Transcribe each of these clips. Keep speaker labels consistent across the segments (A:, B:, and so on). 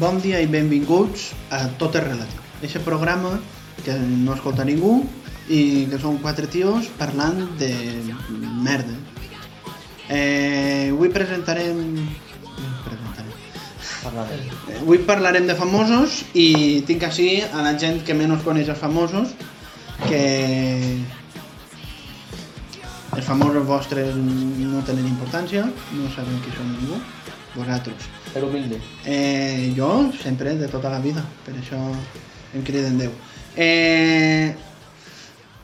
A: Bon dia i benvinguts a Tot és Relatiu. Eixe programa que no escolta ningú i que són quatre tios parlant de merda. Eh, avui presentarem... presentarem.
B: Parlarem.
A: Eh, Avui parlarem de famosos i tinc així a la gent que menys coneix els famosos que els famosos vostres no tenen importància, no sabem qui són ningú, vosaltres.
B: Ser humilde.
A: Eh, jo sempre, de tota la vida, per això em criden Déu. Eh,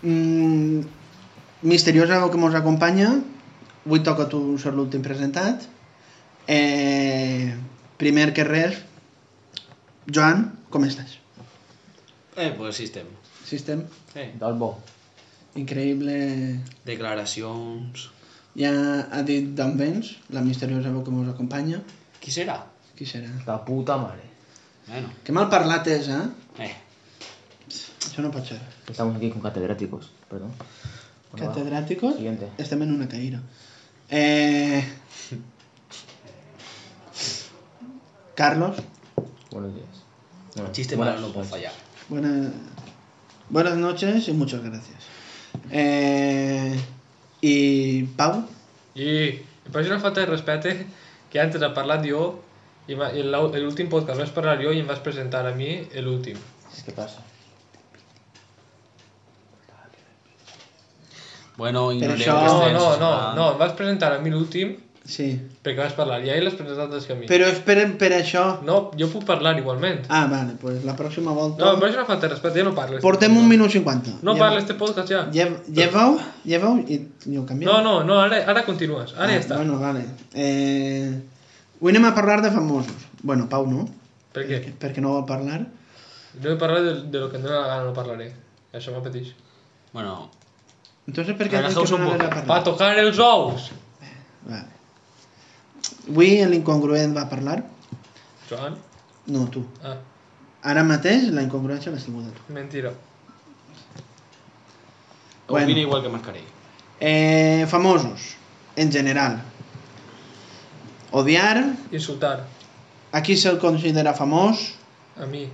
A: mm, misteriosa que mos acompanya, avui toca tu ser l'últim presentat. Eh, primer que res, Joan, com estàs?
C: Eh, pues sistema.
A: Sí, estem
C: Eh,
B: Del bo.
A: increïble.
C: declaracions...
A: Ja ha dit d'on vens, la misteriosa veu que mos acompanya.
C: Qui serà?
A: Qui serà?
B: La puta mare.
C: Bueno,
A: Que mal parlat és, eh?
C: eh,
A: Això no pot ser.
B: Estamos aquí con catedráticos, perdón. Bueno, va.
A: Catedràticos?
B: Siguiente.
A: Estem en una caïra. Eh... Carlos,
B: Buenos días. Bueno,
C: chiste
B: buenas
C: malo no puede
B: noches.
C: fallar.
A: buena- buenas noches y muchas gracias. Eh... I Pau,
D: I em faig una falta de respecte que antes ha parlat jo i m'ha- i l'au- l'últim podcast vaig parlar jo i em vas presentar a mi l'últim.
B: ¿Qué pasa?
C: Bueno, ignorem
A: això-
C: que
D: No,
C: estem
D: no, no,
C: sonant.
D: no, em vas presentar a mi l'últim
A: sí.
D: perquè vas parlar i ahir l'has presentat des que a mi.
A: Però esperen per això...
D: No, jo puc parlar igualment.
A: Ah, vale, pues la pròxima
D: No,
A: volta...
D: em faig una falta de respecte, ja no parles.
A: Portem un minut 50.
D: No
A: Ja-
D: parles este podcast ja.
A: Llev, lleveu, lleveu i i ho canviem.
D: No, no, no, ara, ara continues,
A: Ah,
D: ara ja està.
A: Bueno, vale. Eh... Avui anem a parlar de famosos. Bueno, Pau no,
D: Per què?
A: perquè no vol parlar.
D: No he parlat de, de lo que em dóna la gana, no parlaré. Això m'apeteix.
C: Bueno,
A: Entonces, per què
C: Relajeu-se un poc.
A: parlar?
D: Va tocar els ous!
A: Vale. Avui l'incongruent va parlar.
D: Joan?
A: No, tu.
D: Ah,
A: Ara mateix la incongruència l'has tingut tu.
D: mentira.
A: Bueno.
C: bueno. opina igual que Mascarell.
A: Eh, famosos, en general. Odiar,
D: Insultar.
A: a qui se'l considera famós,
D: A mi.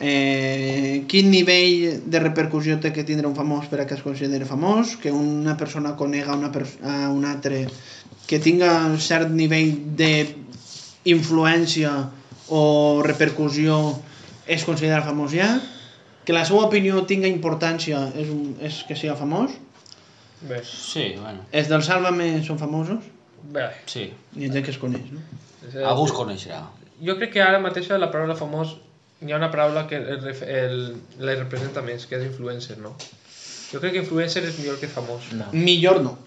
A: eh, quin nivell de repercussió té que tindre un famós per a que es consideri famós, que una persona conega una pers a un altre que tinga un cert nivell d'influència o repercussió es considera famós ja, que la seva opinió tinga importància és, un, és que siga famós,
D: Bé.
C: Sí, bueno,
A: els del Sálvame són famosos,
D: Bé.
C: sí.
A: hi ha gent que es coneix, no?
D: Eh,
C: Algú us coneixerà.
D: Jo crec que ara mateix la paraula famós hi ha una paraula que el, ref- el, la representa més, que és influencer, no? Jo crec que influencer és millor que famós.
B: No.
A: Millor no.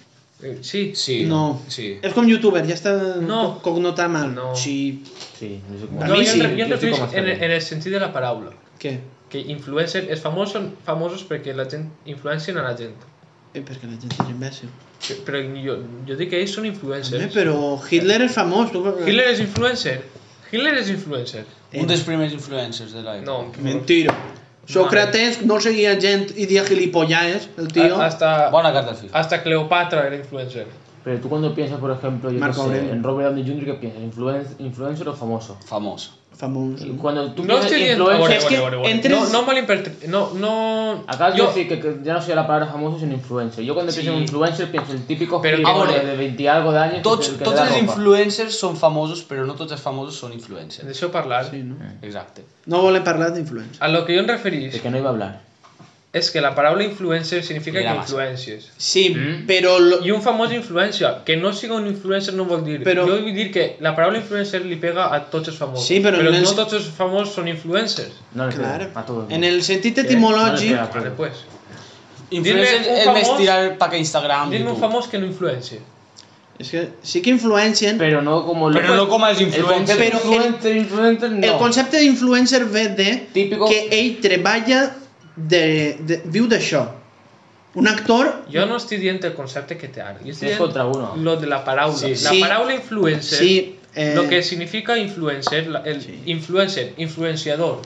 D: Eh, Sí,
C: Sí.
A: No.
C: Sí.
A: És com youtuber, ja està
D: No.
A: cognotat mal.
D: No.
A: Sí,
B: Sí, no sé cómo.
A: A
D: no,
A: mi
D: jo,
A: sí,
D: em re- jo em
B: jo estic com
D: refereix en,
B: Mascarell.
D: en el sentit de la paraula.
A: què?
D: Que influencer, els famosos són famosos perquè la gent influencien a la gent.
A: Eh, perquè la gent és imbècil.
D: Que- Però jo, jo dic que ells són influencers.
A: Home, però Hitler és famós, tu...
D: Hitler és influencer. Hitler és influencer.
A: Eh,
C: Un dels primers influencers de l'època.
D: No,
A: Mentira. Sócrates no seguia gent i dia gilipollades, el tio.
D: A- Hasta,
C: Bona carta al FIFA.
D: hasta Cleopatra era influencer.
B: Pero tú cuando piensas, por ejemplo, yo qué
A: Marco
B: sé,
A: Aurelio.
B: en Robert Downey Jr., ¿qué piensas? ¿Influen- ¿Influencer o famoso?
C: Famós.
D: ah.
A: Famós.
B: Y Cuando tú
D: No
B: piensas
D: estoy diciendo...
B: influencer...
D: Vale,
A: Es
D: vale,
A: que
D: vale, vale.
A: entres-
D: No, no malinterpre- No, no...
B: Acabas
D: Yo-
B: de decir que, que ya no soy la palabra famoso, sino influencer. Yo cuando pienso en
D: Sí.
B: influencer pienso en el típico
D: Pero,
B: gilipollas
C: ahora,
B: de 20 y algo de años
C: Tots,
B: que, te- que te
C: tots
B: da
C: els
B: ropa.
C: influencers són famosos, però no tots els famosos són influencers.
D: Deixeu parlar.
A: Sí, no?
C: Exacte.
A: no volen parlar d'influència.
D: A lo que jo em
B: De
D: referís
B: que no iba a hablar.
D: és que la paraula influencer significa
C: Mira
D: que
C: massa.
D: influències.
A: Sí,
B: Mm.
A: però... Lo...
D: I un famós influencer, que no siga un influencer no vol dir.
A: Però-
D: Però... Jo vull dir que la paraula influencer li pega a tots els famosos.
A: Sí, però
D: però
A: no
D: no
A: és-
D: tots els famosos són influencers.
B: No le
A: Clar.
B: pega a todo el mundo.
A: En el sentit
B: No
A: etimològic...
B: le pega a todo.
D: Vale, pues.
C: Influencer
D: un
C: és més
D: famós-
C: tirar pa que Instagram,
D: Dime un
C: YouTube.
D: famós que no influencia.
A: És que sí que influencien,
B: Pero no como
C: Pero no como els
B: El
C: influencers.
B: concepte
A: Pero el-
B: influencer, influencer, no.
A: El concepte d'influencer ve de
B: Típico.
A: que ell treballa de, de viu d'això. Un actor
D: Yo no estoy diciendo el concepto que te haré. Yo estoy
B: Es
D: dient
B: contra uno.
D: lo de la parábola.
C: Sí,
D: la
A: sí.
D: parábola influencer,
A: Sí, eh,
D: lo que significa influencer, la- el
A: Sí.
D: influencer, influenciador.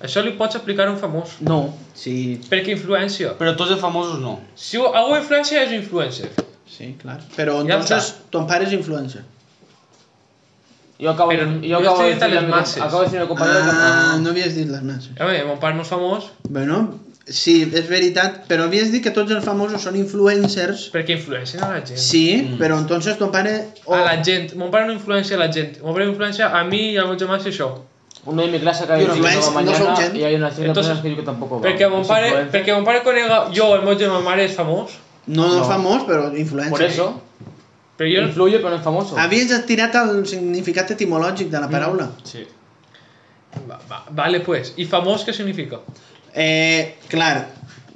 D: Això li pots aplicar a un famós.
B: No.
A: Sí,
D: Perquè influència.
C: Però tots els famosos no.
D: Si algú influència, és influencer.
A: sí, clar. Però
D: Ja
A: entonces
D: està.
A: ton pare és influencer.
B: Yo acabo,
D: Pero yo
B: yo acabo
D: estoy
B: de
D: entre
B: decirle a
D: las
B: mi com-
D: masas.
B: acabo de decirle a mi compañero que-
A: Ah, no havies dit les masses.
D: A veure, mon pare no és famós
A: Bueno, sí, és veritat, però havies dit que tots els famosos són influencers.
D: perquè influencien a la gent.
A: Sí,
C: Mm.
A: però entonces ton pare... oh, o-
D: A Ah, la gent. Mon pare no influencia a la gent. Mon pare influencia a mi i a meus germans i això.
B: Uno de mi clase acaba de
A: Yo no
B: decir que
A: ves,
B: va
A: no
B: mañana
A: son gente.
B: y hay una serie de
D: Entonces,
B: personas que yo que tampoco va.
D: Perquè mon
B: Es
D: pare,
B: influencer.
D: perquè mon pare conega jo, el meu germà mare és famós,
A: No, no,
B: No.
A: famós, però influencer.
B: Por eso,
D: però jo...
B: influye pero no es famoso.
A: Havies tirat el significat etimològic de la paraula.
C: Sí.
D: Va, va, vale, pues. I famós què significa?
A: Eh, clar,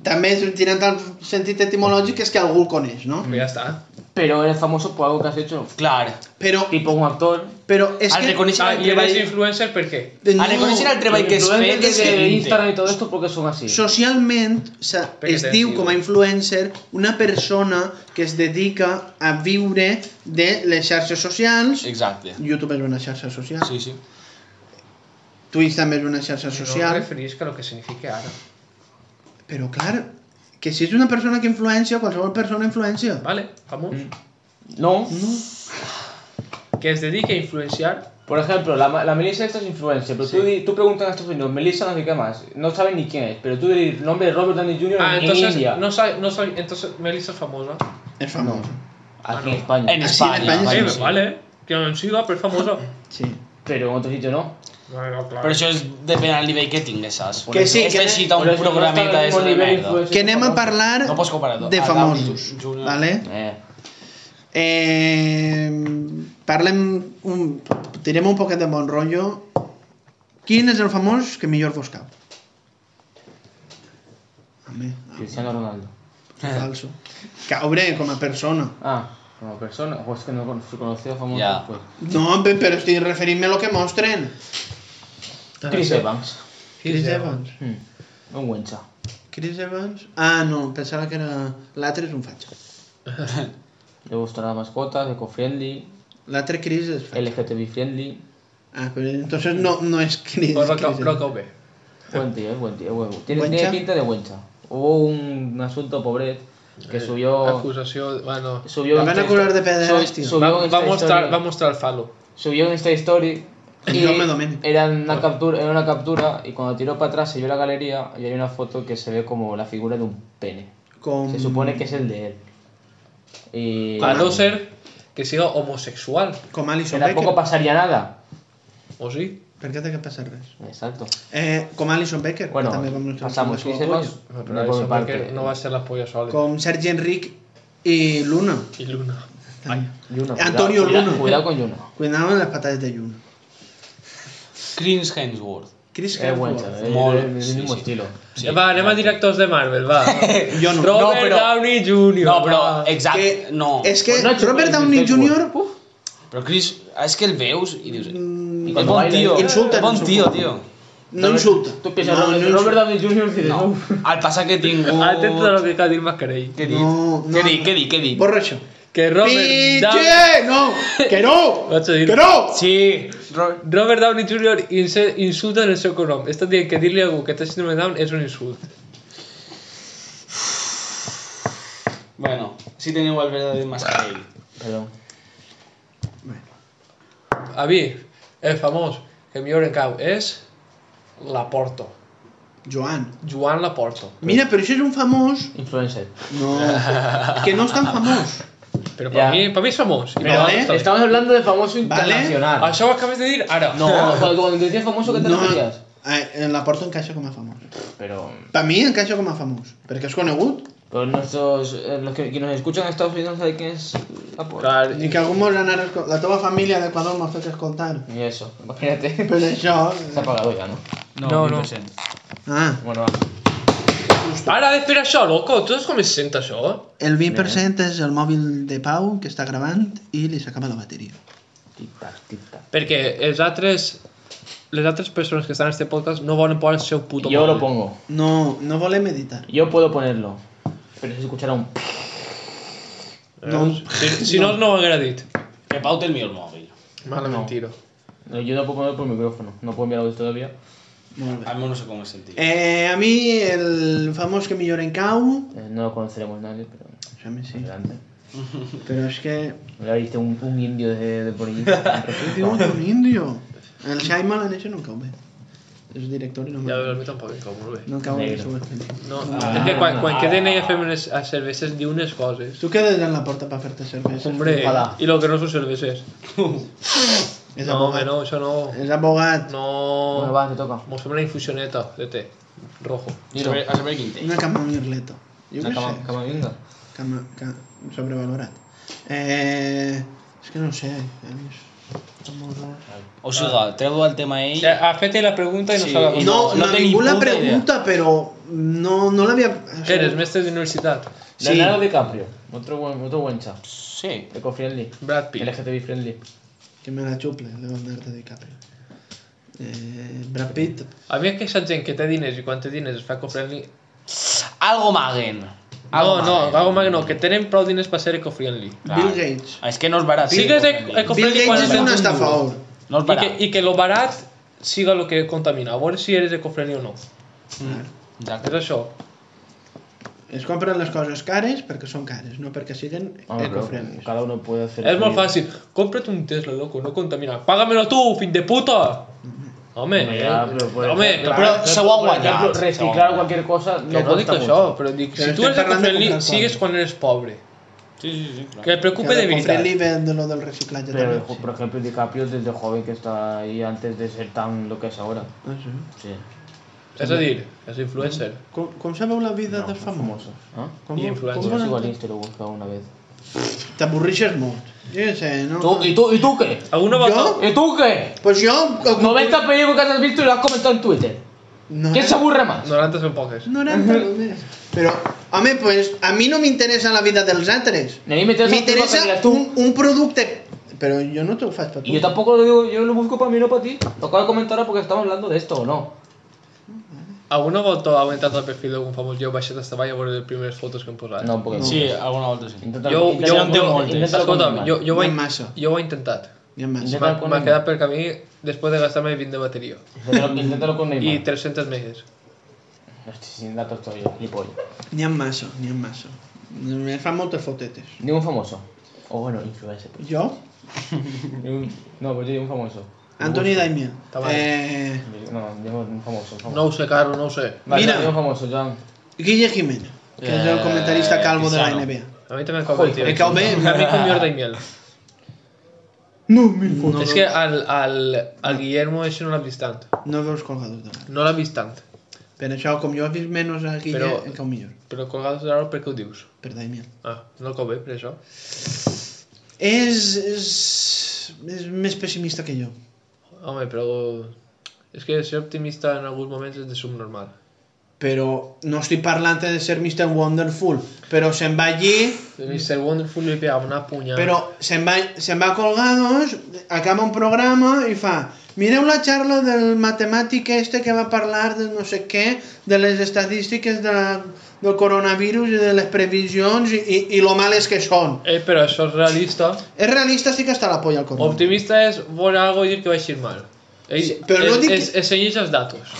A: també és tirant al sentit etimològic és que algú el coneix, no?
D: Però ja està.
B: Pero eres famoso por algo que has hecho.
C: Clar.
A: Però,
B: Tipo un actor.
A: però és
C: Al
A: que...
C: reconèixer
D: Ah,
C: el
D: I eres
C: treball...
D: influencer per què?
A: no,
C: Ah, Al reconèixer el treball que es
B: Influencers
C: fet és
B: de
C: que...
B: Instagram y todo esto porque son así.
A: Socialment se,
D: Perquè
A: es
D: tens
A: diu
D: vida.
A: com a influencer una persona que es dedica a viure de les xarxes socials.
C: Exacte.
A: YouTube és una xarxa social.
C: Sí, sí.
A: Twitch també és una xarxa
D: No
A: social.
D: em referís a lo que significa ara.
A: Però clar, que si és una persona que influencia, qualsevol persona influencia.
D: Vale, famós.
A: Mm.
B: No.
D: Que es dedique a influenciar.
B: Por ejemplo, la, la Melissa esta es influencer, pero tú, di- tú preguntas a Estados Unidos, Melissa no sé qué más, no saben ni quién es, pero tú di el nombre de Robert Downey Jr.
D: Ah,
B: en
D: entonces,
B: India,
D: no sabe, no sabe, entonces Melissa es famosa.
A: És famosa.
B: aquí en España,
C: En
A: en
C: Espanya.
A: Espanya
D: Eh,
A: sí.
C: vale, sí.
D: vale, que no en siga, però és famosa.
A: Sí.
B: pero en otro sitio no.
D: No, no, claro.
C: Però això és depèn del nivell que tingues, saps?
A: Que sí,
C: és
A: que-
C: així Este un
B: Por eso no está
C: programeta
B: al
C: és
B: mismo
C: de
B: nivel
C: merda.
B: influencer
A: Que anem a
B: famoso.
A: parlar
C: No pots comparar dos.
A: de
C: Ah,
A: famosos,
C: Downey Jr.
A: vale?
B: Eh,
A: Eh, parlem un, tirem un poquet de bon rotllo. Quin és el famós que millor vos cap? Home,
B: Cristiano Ronaldo. Eh.
A: falso. Cabre com a persona.
B: Ah, como persona, pues que no con- se conocía famoso.
C: Ya.
B: Pues.
A: No, pe- però estic referint-me a lo que mostren.
B: Chris Evans.
A: Chris Evans.
B: Mm. Un guencha.
A: Chris Evans? Ah, no, pensava que era... L'altre és un fatxa.
B: Le gustan las mascotas, eco-friendly,
A: L'altre Chris és fatxa.
B: LGTB-friendly.
A: Ah, però entonces no, no és Chris.
D: Pues lo
A: Chris
D: que, lo
A: Evans.
D: que ho ve.
B: Buen tío, es buen tío. es buen- Tiene,
A: ¿Güencha?
B: tiene pinta de guencha. Hubo un asunto pobre que
D: Oh.
B: subió...
D: Acusació, bueno...
B: subió
A: Me van a
B: Insta-
A: curar de pederastia.
B: sub-
D: Va,
B: subió en
D: va,
B: Insta
D: mostrar,
B: Story-
D: va mostrar el falo.
B: Subió en Insta Story.
A: Y yo me domino.
B: Era una, captura, era una captura y cuando tiró para atrás se vio la galería y hay una foto que se ve como la figura de un pene.
A: Com...
B: Se supone que es el de él. Y...
D: A no ser que siga homosexual,
A: Com
B: Que
A: Alison
B: tampoco
A: Becker.
B: pasaría nada.
D: o sí?
A: Per què té que passar res?
B: Exacto.
A: Eh, com Alison Becker,
B: Bueno,
A: que també vam mostrar
B: pasamos.
A: com
B: Chris
A: a
B: Evans,
D: Però
B: no por mi
D: això perquè
B: parte.
D: no va ser la polla sola.
A: Com Sergi Enric i Luna.
D: I Luna.
B: Yuna, cuidado,
A: Antonio
B: cuidado,
A: Luna.
B: Cuidado con Yuna.
A: Cuidado amb les patates de Luna.
C: Chris Hemsworth.
A: Chris
B: Es buen
A: Hemsworth.
B: chaval,
C: Molt,
B: es del
C: sí,
B: mismo
C: sí.
B: estilo.
C: Sí.
D: Va, anem a directors de Marvel, va.
A: Jo no.
C: No,
D: Robert
C: però-
D: Downey Jr.
C: No, però
D: va.
C: exacte,
A: Que-
C: no.
A: És que
B: Pues no ha hecho
A: Robert
B: goles,
A: Downey
B: es buen.
A: Jr.
B: Uf.
C: Però Chris, és que el veus i dius...
A: mm,
B: I
C: És
B: cuando
C: bon
B: baila,
C: tio,
A: insulten,
C: és bon tio,
A: insulten.
C: tio.
A: no insulta.
B: Tú piensas,
A: no,
B: Robert,
A: no
B: Robert
A: insulta.
B: Downey Jr. dices,
C: No.
B: "Uf".
C: El passa que tinc...
D: Atento a lo que Kadir Mascarell.
C: Què dic?
A: No, no,
C: què dic,
A: no.
C: què dic, què dic?
A: Borra això.
D: Que Robert, Downey,
A: Pitxe! No! Que no!
D: Vaig a dir-
A: Que no!
C: Sí, Robert...
D: Robert Downey Jr. inse- insulta en el seu cognom. Està dient que dir-li a algú que té síndrome de Down és un insult.
C: Bueno, si teniu el verdader mascarell.
B: Perdón.
D: A mi, el famós que millor em cau és... Laporto.
A: Joan.
D: Joan Laporto.
A: Mira, però això és un famós
B: Influencer.
A: no, que no és tan famós.
D: Però per,
B: Ja.
D: mi, per mi és famós. I
B: Pero
D: per
A: Vale.
D: altres també.
B: estamos hablando de famoso
A: Vale.
B: internacional.
D: Això ho acabes de dir ara.
B: No, Ah, cuando cuando decías famoso, ¿qué te
A: No,
B: referías?
A: eh, en la porta encaixa com a famós.
B: Pero,
A: Per mi encaixa com a famós, perquè és conegut.
B: pero nuestros, eh, los que, que nos escuchan en Estados Unidos no saben quién es la porra.
D: Clar,
A: Ni que algú mos anar... La teva família d'Equador m'ha fet escoltar.
B: Y eso, imagínate.
A: Per això...
B: Se ha apagado ya, ¿no?
D: No, no.
A: Ah,
B: Bueno, va.
A: ho justo.
D: Para de fer eh, això, loco, tu saps com es sent això?
A: El 20% és el mòbil de Pau que està gravant i li s'acaba la bateria.
B: Tic-tac, tic-tac.
D: Perquè els altres... Les altres persones que estan en este podcast no volen posar el seu puto
B: Yo lo
D: mòbil.
B: pongo.
A: No, no volem editar.
B: Yo puedo ponerlo. Pero se escuchará un...
A: No.
D: Si, si no, no ho haguera dit.
C: Que Pau té el millor mòbil.
D: Mala
B: No.
D: mentira.
B: No, yo no puedo ponerlo por micrófono. No puedo enviar audio todavía.
A: Molt bé.
C: Almenys no sé com es sentia.
A: Eh, a mi el famós que millor en cau...
B: Eh, no lo conoceremos nadie, pero...
A: A mi sí.
B: Adelante.
A: Però és que...
B: Ya viste un, un indio de, de por allí. Un
A: Diu
B: reptil.
A: un indio. El Shyamalan això no em cau bé. És director i no em
D: Ja
A: cau
D: veus, a
A: bé.
D: mi tampoc em cau molt bé.
A: No em cau bé
B: Negre.
A: el seu
D: No,
B: Ah.
D: és que quan, quan queden ella fem unes a cerveses diu unes coses.
A: Tu quedes en la porta per fer-te cervesa.
D: Hombre,
B: Ojalá.
D: i lo que no són cerveses.
A: És
D: no, home,
A: abogat.
D: no, això no.
A: És abogat.
B: Bueno,
D: No...
B: va, te toca.
D: Mos fem una infusioneta de té, rojo.
C: A
B: Dilo.
C: saber, a saber quin té.
A: Una camamirleto. Jo
B: Una
A: què
B: cama,
A: sé.
B: camavinga.
A: Cama, ca... Sobrevalorat. Eh... És que no ho sé. a mi és- són molt raros.
C: O sigui, treu el tema ell.
D: Ha fet eh, la pregunta i no
C: Sí,
D: s'ha
C: i
D: no.
A: No,
C: no
A: no
C: té ni
A: ningú la
C: puta idea.
A: pregunta, però no, no l'havia... o
D: Què
A: sigui,
D: eres, mestre d'universitat?
A: Sí.
B: Leonardo DiCaprio. Otro buen, otro buen chap.
C: Sí.
B: Eco-friendly.
D: Brad Pitt.
B: LGTB friendly.
A: Que me la xuple, Leonardo DiCaprio. Eh, Brad Pitt,
D: A mi aquesta gent que té diners i quan té diners es fa eco-friendly...
C: Algo maguen.
D: No, no, algo más que no, que tenen prou diners per ser eco-friendly.
C: Clar.
A: Bill Gates.
C: És que no és barat.
D: Sí que és eco-
A: Bill
D: eco-friendly quan
A: Gates és
D: es veu
A: un
D: un duro.
A: estafador.
C: No és
D: I que,
C: barat.
D: I que lo barat siga lo que contamina, a veure si eres eco-friendly o no.
C: Exacte.
D: És això.
A: Mm. Es compren les coses cares perquè són cares, no perquè siguin
B: Ah, pero
A: eco-friendly.
B: cada uno puede hacer...
D: És
B: su
D: molt
B: vida.
D: fàcil. Compra't un Tesla, loco, no contamina. Págamelo tu, fill de puta! Home,
B: Home,
D: eh?
B: ja, però pots-
D: home,
B: Clar,
D: però,
C: Però se ho ha
B: Por ejemplo,
C: guanyat. se ho ha
B: reciclar
C: guanyat.
B: cualquier cosa
D: que
B: no
D: no dic
B: cuesta
D: això,
B: mucho.
D: però dic,
A: Però
D: si tu
A: estem
D: eres
A: parlant de
D: eco-friendly,
A: comprar coses.
D: sigues quan eres pobre.
C: Sí, sí, sí. clar.
D: Que et preocupe de veritat.
A: eco-friendly ve de lo del reciclatge
B: Pero,
A: també.
B: por ejemplo, DiCaprio desde joven que está ahí antes de ser tan lo que es ahora.
A: Sí. Ah, sí.
B: Sí.
D: És a dir, és influencer.
A: Com, com sabeu la vida dels famosos?
B: famoso. ¿Ah?
A: Com,
D: I influencers.
A: com
B: Pues
A: van-
B: igual Insta lo he buscado una vez.
A: T'avorreixes molt. Jo què sé, no?
B: ¿Tú, ¿Y tú? ¿Y tú qué?
D: Alguna
A: Jo?
D: vegada...
B: ¿Y tú qué?
A: Pues jo...
B: 90 películas que has visto y las has comentado en Twitter.
A: No,
B: ¿Quién se aburre más?
D: 90 són poques.
A: 90 només. Però, home, pues, a mi no m'interessa la vida dels altres.
B: A mí me interesa,
A: M'interessa
B: tu, para que tú.
A: un, un producte... Però jo no t'ho faig per tu.
B: Y yo tampoco lo digo, yo lo busco para mí, no para ti. Lo acabo de comentar ahora porque estamos hablando de esto, ¿o no?
D: Alguna volta heu entrat al perfil d'algun famós jo baixat hasta avall a veure les primeres fotos que hem posat?
B: No, porque
C: Sí, alguna volta sí.
B: Intenta,
D: Jo,
B: intenta-
D: jo,
C: en té
B: intenta-
C: moltes.
B: intenta-
D: escolta'm, jo, jo, ho he,
A: Hi ha massa.
D: jo ho he intentat.
A: Ja em
B: Intenta-
A: vas.
D: M'ha
B: con
D: m'ha
B: ella.
D: quedat per camí després de gastar-me 20 de bateria.
B: Inténtalo, inténtalo con Neymar.
D: I 300 megas.
B: No estoy sin datos estoy yo, gilipollas.
A: N'hi ha massa, n'hi ha massa. Me fan moltes fotetes.
B: Ningún famoso. O bueno, influencer. pues.
A: Jo?
B: Ningún- No, pues yo digo un famoso.
A: Anthony Daimiel.
D: Tabal.
A: Eh,
B: No, digo un famoso. un famoso.
D: No ho sé, Caro, no ho sé.
B: Vale,
A: Mira.
B: digo un famoso, Joan.
A: Guille Jiménez, que és el
C: Eh,
A: comentarista calvo de la
C: Pizarro.
A: NBA.
D: A mi també em cau bé, tio.
A: Me cau bé.
D: Em cau bé i miel.
A: No, mil fotos.
D: És que al, al, al Guillermo això no l'ha vist tant.
A: No veus colgados de l'art.
D: No l'ha vist tant.
A: Per això, com jo he vist menys a Guille,
D: Però-
A: em cau millor.
D: Però colgados de l'aro, per què ho dius?
A: Per Daimiel.
D: Ah, no cau bé, per això.
A: És, és, és més pessimista que jo.
D: Home, però... És que ser optimista en alguns moments és de subnormal.
A: Però no estic parlant de ser Mr. Wonderful, però se'n va allí, Mm.
D: Mr. Wonderful li pegava una punyada.
A: però se'n va, se'n va a colgados, acaba un programa i fa mireu la xarla del matemàtic este que va parlar de no sé què, de les estadístiques de la, del coronavirus i de les previsions i, i, i lo males que són.
D: Eh, però això és realista.
A: És realista, sí que està la polla al corona.
D: Optimista és veure algo i dir que va eixir mal. Ell,
A: Sí, però no
D: ell-
A: dic que-
D: es, es segueix els datos.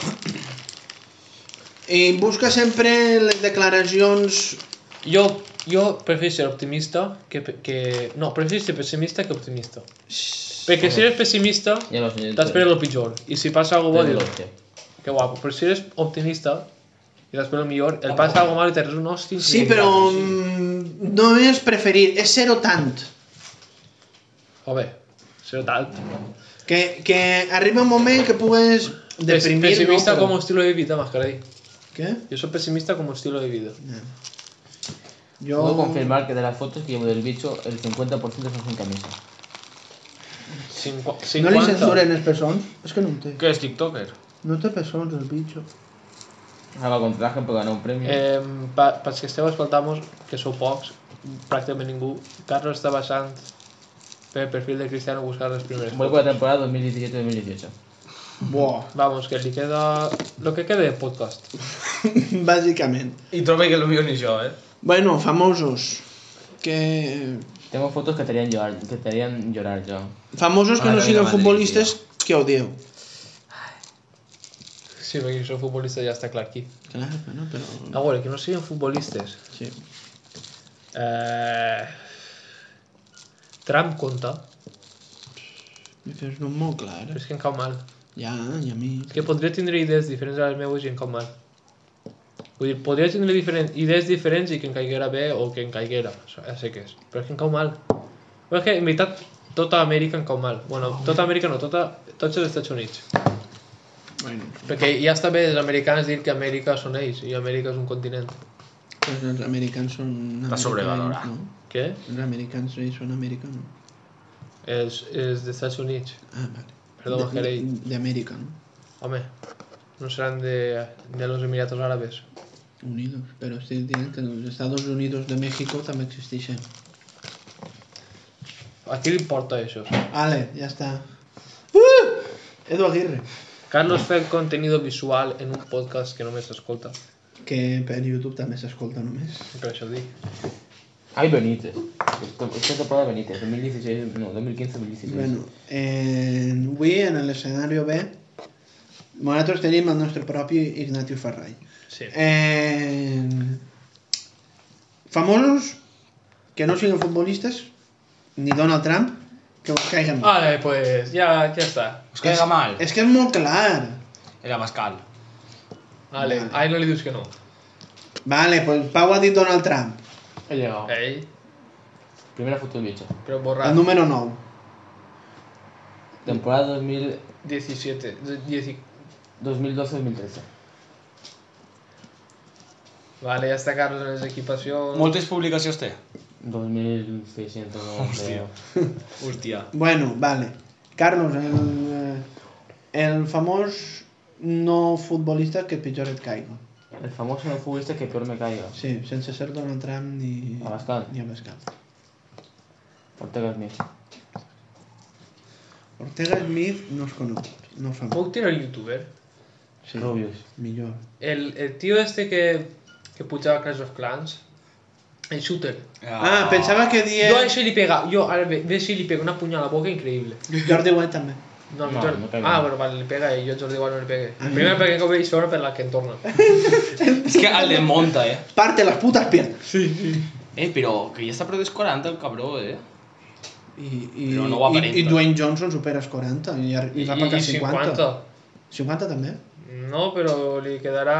A: I busca sempre les declaracions...
D: Jo, jo prefereixo ser optimista que, pe- que... No, prefereixo ser pessimista que optimista. Perquè si eres pessimista,
B: Ya lo sé.
D: t'espera el pitjor. I si passa alguna cosa,
B: Te digo,
D: bo,
B: tío.
D: dius, que guapo. Però si eres optimista, i t'espera el millor, et passa alguna cosa mal i t'arribes un hosti...
A: Sí, però mm, no és preferir, és ser-ho tant.
D: Home, serà tal.
A: Que, que arriba un moment que pugues
D: Es
A: deprimir...
D: pessimista
A: no,
D: com un estilo de vida, más caray.
A: Què?
D: Jo soc pessimista com un estilo de vida.
A: No.
B: Puedo
A: Jo...
B: confirmar que de las fotos que llevo del bicho, el 50% son sin camisa.
D: Cinqua-
A: No li
D: 50.
A: censuren els pessons? És que no en té.
C: Que és tiktoker?
A: No té pessons, el bitxo.
B: Ah, va contra Ángel per ganar un premi.
D: Eh, pa, pels que esteu escoltant-nos, que sou pocs, pràcticament ningú, Carlos està baixant per perfil de Cristiano buscar les primeres
B: Vuelvo a la temporada 2017-2018.
A: Buah,
D: Vamos, que li queda... Lo que quede de podcast.
A: bàsicament.
C: I trobo que el millor ni jo, eh?
A: Bueno, famosos. Que...
B: Tengo fotos que te harían llorar, que te harían llorar yo.
A: Famosos que
B: Ah,
C: Madre
A: no
C: mía,
A: siguen
C: Madrid,
A: futbolistes que odieu.
D: Sí, perquè si sou futbolista ja està clar aquí.
A: Clar, bueno, però...
B: Mm.
D: A veure, que no siguin futbolistes.
A: Sí.
D: Eh... Trump compta,
A: M'hi fes no molt clar.
D: però és que em cau mal.
A: Ja, i a mi...
D: És que podria tindre idees diferents a les meves i em cau mal. Vull dir, podria tindre diferent, idees diferents i que em caiguera bé o que em caiguera, això ja sé què és. Però és que em cau mal. Però és que, en veritat, tota Amèrica em cau mal. Bueno, tota Amèrica no, tota, tots els Estats Units.
A: Bueno,
D: Perquè ja està bé els americans dir que Amèrica són ells i Amèrica és un continent.
A: doncs els americans són... americans,
C: sobrevalorar.
A: No?
D: Què?
A: Els americans ells són americans.
D: Els, els dels Estats Units.
A: Ah, vale.
D: Perdó,
A: De-
D: Mascarell.
A: de- D'Amèrica, no?
D: Home, no seran de, de los Emiratos Árabes.
A: Unidos, però estic dient que els Estados Unidos de México també existeixen.
D: A qui li importa això?
A: Ale, ja està. Uh! Edu Aguirre.
D: Carlos fa contenido visual en un podcast que només s'escolta.
A: Que per YouTube també s'escolta només.
D: Per això ho dic.
B: Ay, Benítez. Esta esta temporada Benítez, 2016, no, 2015-2016.
A: Bueno, eh, avui en l'escenari B nosaltres tenim el nostre propi Ignatiu Ferrall.
D: Sí.
A: Eh, famosos que no siguin futbolistes, ni Donald Trump, que us caiguen. mal.
D: Vale, pues ja, ja està.
C: Us caiga mal.
A: És que és molt clar.
C: Era Mascal.
D: Vale,
A: Vale.
D: ai no li dius que no.
A: Vale, pues Pau ha dit Donald Trump,
B: He llegado.
D: Ei,
B: Eh, Primera foto del bicho.
D: però
A: el
D: borrat.
A: número 9.
B: Temporada 2000
D: 17, de- 10.
B: 2012-2013.
D: Vale, ja està Carlos en les equipacions.
C: Moltes publicacions té.
B: 2600, no
C: Hòstia.
B: creo.
C: Hòstia.
A: Bueno, vale. Carlos, el, eh, el famós no futbolista que pitjor et caiga.
B: El famoso no futbolista que peor me caiga.
A: Sí, sense ser Donald Trump ni...
B: Abascal.
A: Ni Abascal.
B: Ortega Smith.
A: Ortega Smith no és conegut, no és famós.
D: Puc tirar el youtuber?
A: Sí,
B: Rubius.
A: millor.
D: El, el tio este que, que pujava a Clash of Clans, el shooter.
A: Ah, pensava que
D: Yeah. Jo a
A: dies...
D: això li pega, jo ara ve, ve si li pega una punyada a la boca increïble.
A: Jordi White també.
B: No,
D: No, no, Jordi...
B: no
D: no
B: pega.
D: ah, bueno, vale, li pega i jo a Jordi Gual no li pegué. El primer perquè que ho veig sobre per la que em torna.
C: És que el desmonta, eh?
A: Parte les putes piernas.
C: Eh, però que ja està prou dels 40 el cabró, eh?
A: I, i,
C: Però no ho
A: i,
C: aparenta.
A: i Dwayne Johnson supera els 40 i, ar- i va per cap 50. 50. també?
D: No, però li quedarà...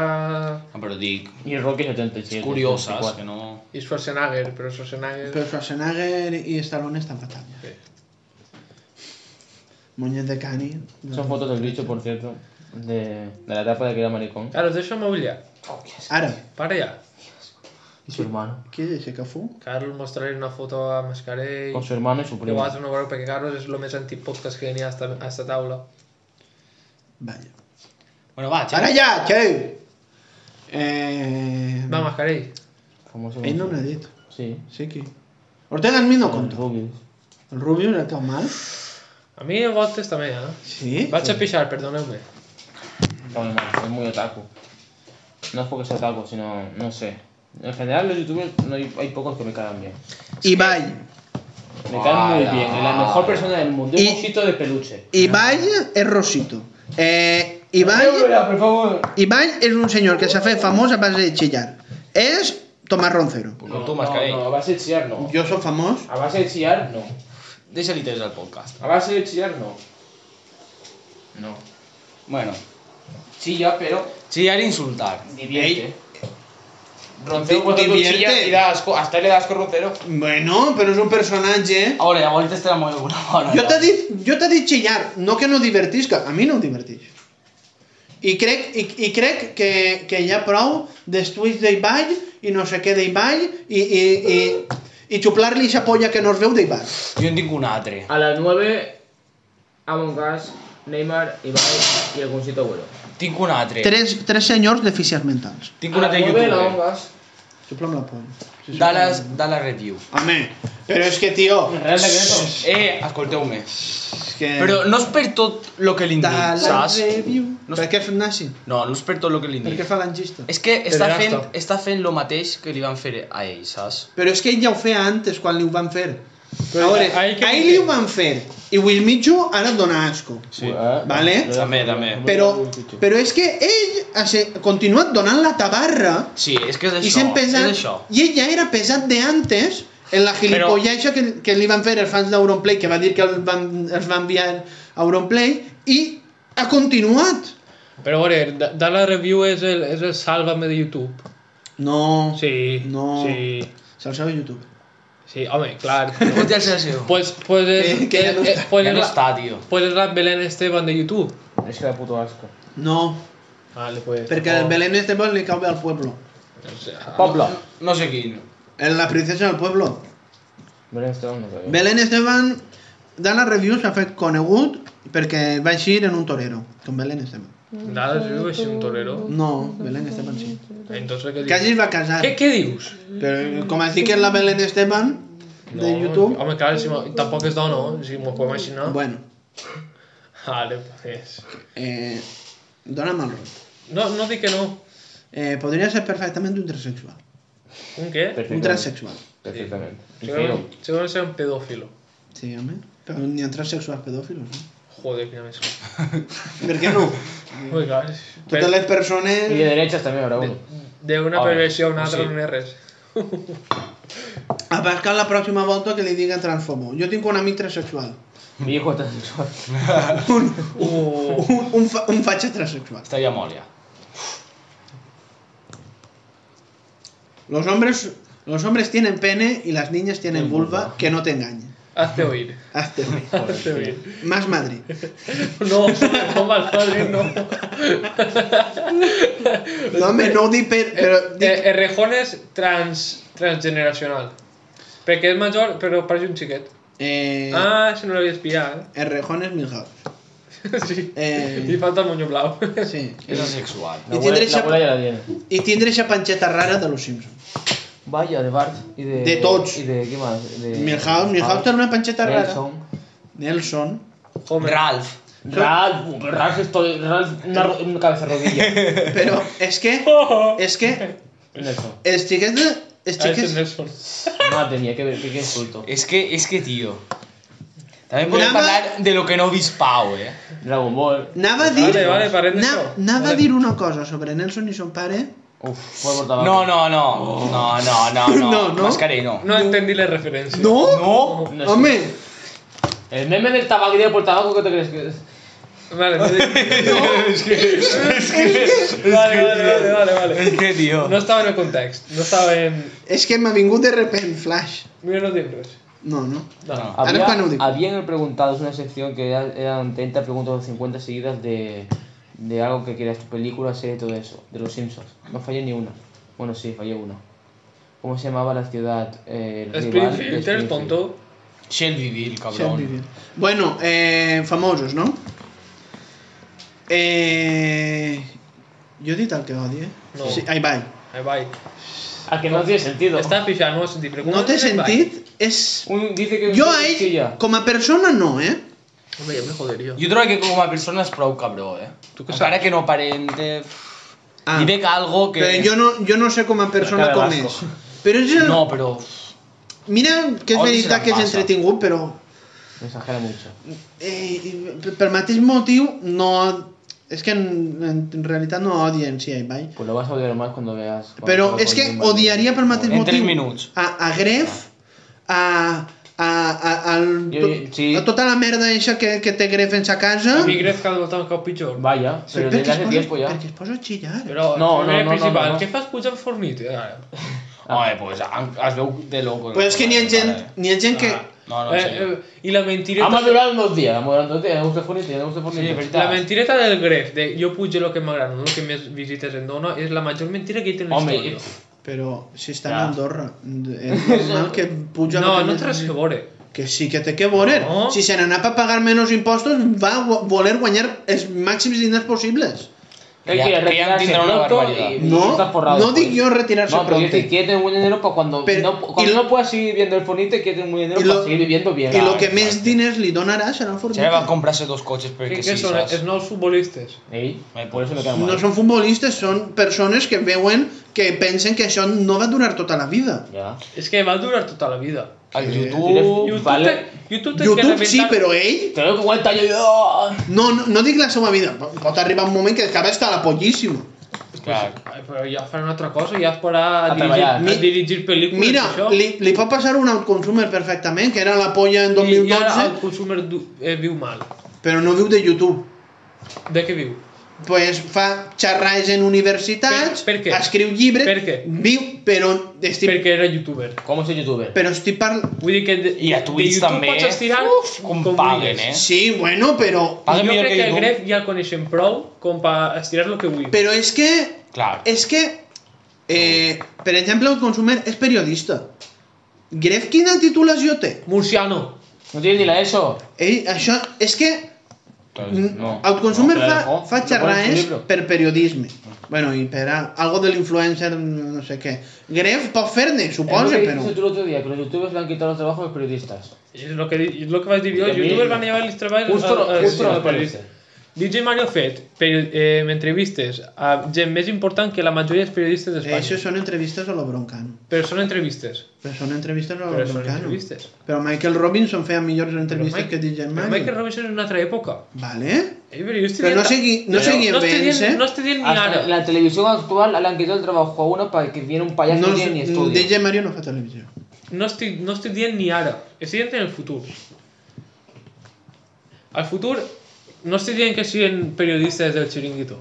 C: Ah, però dic,
B: Y Rocky 77.
C: curioses,
B: 74.
C: que no...
D: I Schwarzenegger, però Schwarzenegger...
A: Però Schwarzenegger i Stallone estan fatal. ja.
D: Sí.
A: Moñet de cani.
B: Son fotos del bicho, por cierto. De, de la etapa de que era maricón.
D: Claro, deixa'm aullar.
A: Ara,
D: Para ja.
B: Y su hermano.
A: qui és això que fu?
D: Carlos, mostraré una foto a Mascarell.
B: Con su hermano y su
D: Que
B: primo.
D: vosaltres no veureu perquè Carlos és el més antipodcast que n'hi ha a esta, a esta taula.
A: Vaja.
C: Bueno, va,
A: Ara
C: xavi.
A: ja, xei! Eh...
D: Va, Mascarell.
B: Famoso.
A: Ell no n'ha dit.
B: Sí.
A: Sí, qui? Ortega Smith no
B: Con
A: compta.
B: Rubius.
A: El Rubius el teu mal?
D: A mi a voltes també, eh?
A: Sí?
D: Vaig a pixar, perdoneu-me.
B: Está muy mal, es muy otaku. No es porque sea otaku, sino, no sé. En general los youtubers no hay, hay pocos que me caigan bien.
A: Ibai.
B: Me caen muy
C: Hola.
B: bien, es la mejor persona del mundo.
A: Y-
B: Un osito de peluche.
A: Ibai és Rosito. Eh, Ibai,
B: Hola, por favor.
A: Ibai és un senyor que s'ha fet famós a base de xillar. És Tomàs Roncero.
C: Com tu, Mascarell.
B: No, no, a base de chillar no.
A: Jo sóc famós?
B: A base de chillar no.
C: Deixa-li temps al podcast.
B: A base de chillar no. No.
C: Bueno,
B: Chilla, pero
C: chillar i insultar.
B: divierte.
A: Di-
B: Roncero, por ejemplo,
A: divierte.
B: chilla y da asco. Hasta le da asco a Roncero.
A: Bueno, però és un personatge...
C: A veure, llavors te la molt alguna bona.
A: Jo t'he dit, jo t'he dit xillar, no que no divertisca, a mi no em diverteix. I crec, i, i crec que, que hi ha prou dels tuits d'Ibai i no sé què d'Ibai i, i, i, i xuplar-li sa polla que no es veu d'Ibai.
C: Jo en tinc un altre.
B: A las 9, Among Us Neymar, Ibai i el Consito Agüero.
C: Tinc un altre.
A: Tres, tres senyors deficients mentals.
C: Tinc un
B: Ah,
C: altre youtuber.
A: Xupla'm la poll. Sí, sí.
C: Dallas, Dallas Review.
A: Home, però és que, tio...
B: Real Decreto.
C: Eh, escolteu-me.
A: És que...
C: Però no és per tot lo que li dic, saps?
A: Dallas Review.
C: No
A: Per què és nazi?
C: No, no és per tot lo que li
A: Per
C: dic.
A: què falangista?
C: És que està
D: Pederasta.
C: fent, està fent lo mateix que li van fer a ell, saps?
A: Però és que ell ja ho feia antes, quan li ho van fer.
D: Però
A: a veure,
D: ahí que-
A: ahir li ho van fer, i Will Mitchell ara et dona asco.
C: Sí.
A: Vale.
C: També, també.
A: Però, però és que ell ha se- ha continuat donant la tabarra
C: Sí, és que és
A: i
C: això,
A: sent pesat,
C: és això.
A: i ell ja era pesat de antes en la gilipollaixa que, que li van fer els fans d'Auronplay, que va dir que el van, els va enviar a Auronplay, i ha continuat.
D: Però a veure, Da- Dallas Review és el, és el sálvame de YouTube.
A: No,
D: Sí,
A: No.
D: sí,
A: se'l seu YouTube.
D: sí, home, clar.
C: Hòstia, el Sergio.
D: pues, pues és,
A: Eh, que ja no
D: eh,
A: està.
D: pues
C: Ja
D: és
C: no
D: la-
C: està, tio.
D: Pues es la Belén Esteban de YouTube.
B: És que la puto asco.
A: No,
D: Vale, pues.
A: perquè el Belén Esteban li cau bé al pueblo.
B: Pobla.
C: No sé quin.
A: En la princesa del pueblo.
B: Belén Esteban no sabia.
A: Belén Esteban, Dana Review s'ha fet conegut perquè va eixir en un torero, com Belén Esteban.
D: Nada, si vives un torero.
A: No, Belén Esteban sí.
D: Entonces, ¿qué
A: Quasi
D: dius?
A: es va casar.
D: ¿Qué, qué dius?
A: Però com es diu que és la Belén Esteban de
D: No,
A: YouTube...
D: Home, clar, si mo- tampoc és dona, no? Si m'ho puc imaginar.
A: Bueno,
D: Vale, pues...
A: eh, dona'm el rol.
D: No, no dic que no.
A: Eh, podria ser perfectament un transexual.
D: Un què?
A: Un transsexual.
B: Perfectament. I feo.
D: Segurament segurament serà un pedòfilo.
A: Sí, home. Però n'hi ha transsexuals pedòfilos, no?
D: Joder, quina més.
A: Per què no?
D: Ui, clar.
A: Totes les persones...
B: I de derechas també haurà un.
D: D'una
C: Home,
D: perversió a una altra
C: sí.
D: no n'és res.
A: A Pascal la pròxima volta que li diguen transfobo. Jo tinc un amic transsexual.
B: Mi hijo es transexual.
D: Uh,
A: Un, un, fa, un fatxa transsexual.
C: Estaria molt, ja.
A: Los hombres, los hombres tienen pene y las niñas tienen vulva, que no te engañen.
D: hazte oír.
A: Hazte oír.
D: Hazte oír.
A: Más Madrid.
D: No, no mal Madrid, no.
A: No, home, no ho dic per... Però dic,
D: Eh, el rejón és trans, transgeneracional. Perquè és major, però pareix un xiquet.
A: eh,
D: Ah, això no l'havia espiat.
A: el rejón es Milhouse.
D: Sí.
A: Eh.
D: Li falta el monyo blau.
A: Sí.
C: És asexual.
A: I tindré
B: La
A: xap-
B: abuela ja la tiene.
A: I tindre aquesta panxeta rara de los Simpsons.
B: Vaya, de Bart i de...
A: De tots.
B: I de, què més? De...
A: Milhouse, Milhouse té una panxeta rara.
B: Ah. Nelson.
A: Nelson.
D: Homer.
C: Ralph.
B: Ralph, uh, Ralph, estoy, Ralph, una, ro- una cabeza rodilla.
A: Però és que... És que
B: Nelson.
A: els xiquets de... Els
D: Ah, és
A: xiquets...
D: el Nelson.
B: Madre mía, qué, qué, qué insulto.
C: És que, és que, tio... També podem
A: Drama.
C: parlar de lo que no ha vist Pau, eh?
B: Dragon Ball.
A: Anava a dir...
D: Vale, vale, parlem
A: na-
D: d'això.
A: Anava a
D: Vale.
A: dir una cosa sobre Nelson i son pare.
B: Uf, fue por tabaco.
C: No, no, no. No, no, no, no.
A: Oh. No, no.
C: Mascarell, no.
D: No entendí la referència.
A: No?
C: No?
B: No sé.
A: Home,
B: El meme del tabaco y del por tabaco, ¿qué te crees que es?
D: Vale, no dic-
C: És que, és que,
D: vale, vale, vale, vale, vale.
C: és que, tio.
D: No estava en el context. No estava en...
A: és que m'ha vingut de repent flash.
D: Mira, no tinc res.
A: No, no.
C: No.
A: Ahora es cuando digo.
B: Había, había en el preguntado una sección que era- eran 30 preguntas o 50 seguidas de, de algo que quieras, tu película, serie, todo eso, de los Simpsons. No fallé ni una. Bueno, sí, fallé una. ¿Cómo se llamaba la ciudad? Eh, rival de
D: Springfield, eres
B: Springfield?
D: tonto.
C: Shelbyville,
A: Shelbyville.
C: cabrón.
A: Bueno, eh, famosos, no? Eh, jo he dit el que odi, eh?
D: No.
A: Sí, ahí va.
D: Ahí vai.
B: Ah, que no tiene sentido.
D: Estava pixant, no ho sentit. però com eh,
A: No té
D: ahí vai?
A: sentit? És...
B: Un, dice que
A: Jo
B: que
A: a ell,
B: chilla.
A: com a persona, no, eh?
D: Home, ja me joderia.
C: Jo trobo que com a persona és prou cabró, eh?
D: Tu què
C: Encara que no aparente...
A: Ah,
C: Li veig algo que...
A: però jo no, jo no sé com a persona
B: Cara
A: com
B: d'asco.
A: és. Però és el...
C: No, però...
A: Mira que és
C: Odi se
A: veritat que és
C: l'empassa.
A: entretingut, però...
B: Me exagera mucho.
A: Eh, i per- pel mateix motiu, no... És que en, en, en realitat no odien si Aibai.
B: Pues lo vas a odiar más cuando veas. cuando
A: Però
B: veas
A: és que
B: Golden Boy.
A: odiaria pel mateix
C: En
A: motiu...
C: tres minuts.
A: A, a Gref, a... A, a, al,
B: Jo- jo- sí.
A: a tota la merda eixa que, que té Gref en sa casa...
D: A mi crec que ha de votar un cop pitjor.
B: Vaya,
A: perquè
B: pero desde
A: es
B: hace
A: posa-
B: tiempo ya.
A: Perquè es posa a xillar.
D: Però,
B: No, no,
D: primer,
B: no, no,
D: principal,
B: no, no.
D: què fas pujant fornit? Ara.
C: Home, pues, an- es veu de loco.
A: Però és que n'hi ha gent, n'hi ha gent que...
C: No, no,
D: eh,
C: sí.
D: eh, I la
B: Ha
D: mentireta...
B: madurado en dos días, ha madurado en dos días, me gusta Fortnite, me gusta Fortnite.
C: Sí, veritat.
D: La mentireta del Gref, de jo pujo el que m'agrada, no el que més visites em dona, és la major mentira que hi té en la
B: Home,
D: història.
B: eh,
A: Però si està
B: Ja.
A: a Andorra, és normal que puja...
D: no,
A: la
D: no
A: camisa.
D: té res que veure.
A: Que sí que té que voler.
D: No.
A: Si se n'anà per pagar menys impostos, va gu- voler guanyar els màxims diners possibles.
B: Él
E: Ya,
B: quiere
E: que ya
B: retirarse
E: entiendo una
B: pronto
E: barbaridad.
B: y
A: No,
B: estás forrado.
A: no digo yo retirarse
B: No, pero yo
A: pronto.
B: te quiere tener un buen dinero para cuando,
A: Pero-
B: no, cuando
A: y-
B: no puedas seguir viviendo el fonito y quiere tener un buen dinero
A: Y lo-
B: para seguir viviendo bien.
A: I el
E: Clar,
A: que
E: clar.
A: més diners li donarà serà el
E: Se va a
A: formica.
E: comprarse dos coches, pero
D: ¿Qué,
E: que sí,
D: qué son?
E: ¿sabes?
D: Es no futbolistas.
B: Ey,
C: Eh,
B: Por eso me queda mal.
A: No són futbolistes, són persones que veuen que pensen que això no va durar tota la vida.
B: Ya.
D: Es que va a durar toda la vida.
E: Al
A: Sí.
C: Uh,
E: YouTube.
D: YouTube,
B: vale.
D: te, YouTube, te
A: YouTube
D: que
A: sí,
D: reventar-
A: però ell...
B: Te doy cuenta yo. yo.
A: No, no, no dic la seva vida, po- pot arribar un moment que acaba estar a la pollíssima.
E: Claro.
D: Ai, però ja faran altra cosa, ja es podrà
B: A
D: dirigir,
B: treballar.
D: a dirigir pel·lícules
A: Mira,
D: i això.
A: li, li pot passar un outconsumer perfectament, que era la polla en
D: I ara el
A: 2012,
D: consumer du, eh, viu mal.
A: però no viu de YouTube.
D: De què viu?
A: pues, fa xerrades en universitats,
D: Per- per què?
A: escriu llibres,
D: Per què?
A: viu, però estic,
D: Perquè era youtuber.
B: ¿Cómo soy youtuber?
A: però estic parlant...
D: Vull dir que de,
E: I a Twitch
D: de YouTube
E: també.
D: pots estirar
E: Uf, com paguen,
D: vulguis.
E: eh?
A: Sí, bueno, però...
E: Paguen
D: jo
E: millor
D: crec
E: que
D: que, el
E: YouTube.
D: Gref ja el coneixem prou com per estirar el que vull.
A: Però és que...
E: Claro.
A: És que... Eh, per exemple, el consumer és periodista. Gref, quina titulació té?
D: Murciano.
B: No tienes ni la ESO.
A: Ell, això... És que...
E: Entonces,
A: No,
B: no.
A: el consumer
B: No,
A: fa,
B: però,
A: fa
B: no poden fer
A: xerrades
B: llibre.
A: per periodisme. Bueno, i per a, algo de l'influencer, no sé què. Gref pot fer-ne,
B: Es
A: suposa,
D: Eh,
B: lo que
A: però...
B: dijiste tú el otro día, que los youtubers le han quitado los trabajos a los periodistas.
D: És el que, di- és el que vaig dir jo,
B: I a
D: els
B: mi-
D: youtubers van llevar els treballs
B: Justo lo-
D: als-
B: justo lo
D: als
B: que parece.
D: periodistes. DJ Mario ha fet per, eh, entrevistes a gent més important que la majoria dels periodistes d'Espanya.
A: eh, Això són entrevistes a lo broncano.
D: Però són entrevistes.
A: Però són entrevistes a lo
D: Però són
A: broncano.
D: entrevistes.
A: Però Michael Robinson feia millors
D: Però
A: entrevistes
D: Mike-
A: que DJ
D: però
A: Mario.
D: Michael Robinson és una altra època.
A: Vale.
D: Eh, però jo estic
A: Però no
D: dient-
A: sigui- no
D: Però
A: sigui
D: no estic
A: invents,
D: dient-
A: eh?
D: No estic dient ni
B: Hasta
D: ara.
B: en la televisión actual le han quitado el trabajo a uno para que viene un payaso
A: No,
B: que ni estudia.
A: DJ Mario no fa televisió.
D: No estic, no estic dient ni ara. Estic dient en el futur. Al futur no estic dient que siguin periodistes del xiringuito.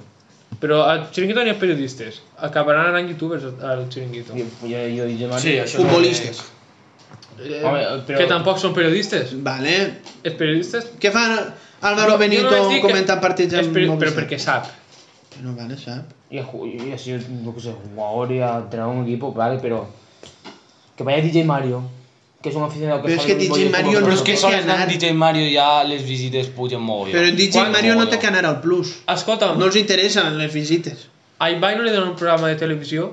D: Però al xiringuito n'hi ha periodistes. Acabaran anant youtubers al- al xiringuito.
B: Yo, yo, yo, yo, Mario.
C: Sí, això
A: Futbolistes.
D: Eh,
B: Home, però-
D: Que tampoc són periodistes.
A: Vale.
D: Els periodistes...
A: Què fan Álvaro
D: Jo- jo
A: Benito
D: només dic que-
A: comentant partits
D: els
A: amb
D: peri-
A: Movistar?
D: Però perquè sap.
A: No, vale, sap.
B: Y, a ju- y así, yo qué sé, jugador y a entrenar un equipo, vale, pero. Que vaya DJ Mario, que es un aficionado que
A: Pero es
B: sabe
A: que
B: lo mismo
A: DJ
B: yo como
A: Mario
E: Però
A: no
E: és que
A: té
E: sols
A: que anar.
E: anant DJ Mario ja les visites pugen molt.
A: Però DJ
E: Quan
A: Mario no
E: mola.
A: té que anar al Plus.
D: Escolta'm,
A: No els interessen les visites.
D: a Ibai no li donen un programa de televisió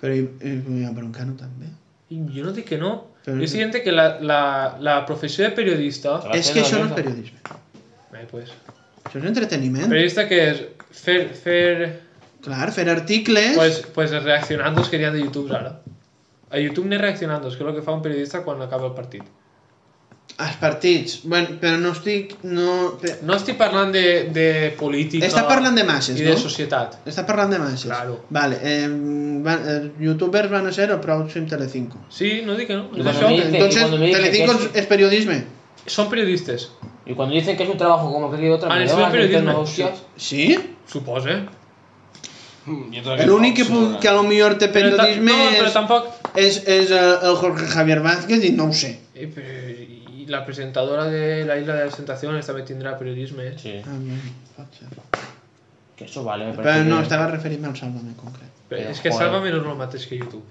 A: Però i, i a Broncano també.
D: I jo no dic que no.
A: Però-
D: Però... Jo siguiente que la, la, la professió de periodista...
B: Clar.
A: és que
B: tele
A: això no
B: no.
A: és periodisme.
D: Ai, pues.
A: Això és entreteniment.
D: Periodista que és fer, fer
A: Clar, fer articles...
D: pues, pues els reaccionandos que hi ha de YouTube ara. A YouTube n'hi ha reaccionandos, que és el que fa un periodista quan acaba el partit.
A: Els partits. Bueno, però no estic... No... pe-
D: No estic parlant de, de política...
A: Està parlant de masses,
D: I de
A: no?
D: societat.
A: Està parlant de masses.
D: Claro.
A: Vale, eh, van, els youtubers van a ser el pròxim Telecinco.
D: Sí, no dic que no.
B: I
D: És
B: quan
D: això.
B: a mi-
A: Entonces,
B: y cuando me dicen
A: Telecinco
B: que
A: es, es periodisme.
D: Són periodistes,
B: Y cuando dicen que es un trabajo como que otra,
D: Ah,
B: me
D: eso es
B: llevan a
D: periodismo.
B: interno, hostias.
A: Sí?
D: suposa.
E: Mm, jo todavía
A: L'únic que,
E: no,
A: pu- que a lo millor té
D: Però ta-
A: periodisme
D: No, però tampoc...
A: és, és, és eh, el Jorge Javier Vázquez i no ho sé.
D: Eh, però, I la presentadora de la Isla de las Tentaciones també tindrà periodisme. Eh?
B: Sí.
A: Ah, bé, pot ser.
B: Que eso vale, me parece.
A: Però no,
B: bien.
A: estava referint-me al Sálvame en concret.
D: Però
B: Eh,
D: és que
B: joder.
D: Sálvame no és el mateix que YouTube.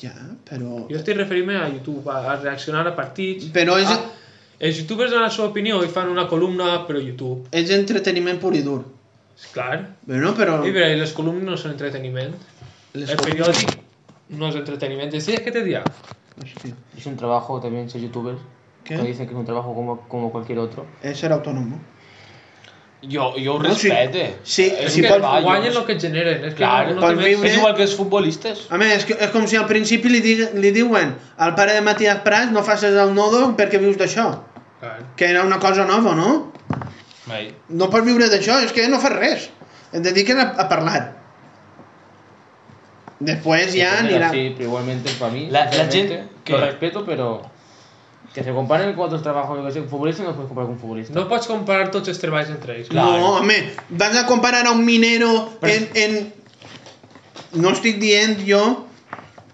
A: Ja, però...
D: Jo estic referint-me a YouTube, a, a reaccionar a partits...
A: Però és,
D: Ah, els youtubers donen la seva opinió i fan una columna, però YouTube,
A: és entreteniment pur i dur.
D: és clar.
A: Bueno, però...
D: I però les columnes no són entreteniment.
A: Les...
D: El periòdic no és entreteniment. Decides què te dirà.
A: Eh, Hòstia,
B: Es un trabajo también ser youtuber.
A: ¿Qué?
B: Cuando dicen que es un trabajo como, como cualquier otro.
A: és ser autònom. no?
E: Jo, jo ho
A: No, sí.
E: respecte.
A: Sí,
E: És
A: sí,
E: un
A: pot-
E: treball,
D: Guanyen
E: jo-
D: el que generen. És que
E: Clar,
D: no, no
A: pots
D: té
A: viure-
D: més.
E: És igual que els futbolistes.
A: A més, és, que, és com si al principi li, digue, li diuen al pare de Matías Prats no facis el nodo perquè vius d'això.
D: Clar.
A: Que era una cosa nova, no?
E: Ai.
A: No pots viure d'això, és que no fas res. Et dediquen a, a parlar. Després ja
B: Depende,
A: anirà...
B: Sí, pero igualmente para mí.
E: La- la
B: sinceramente,
E: gente que-
B: Lo respeto, pero. Que se comparen con otros trabajos. Yo que sé, un futbolista no puedes comparar con un futbolista.
D: No pots comparar tots els treballs entre ells.
E: Clar.
A: No, home, vas a comparar a un minero en, en... No estic dient jo,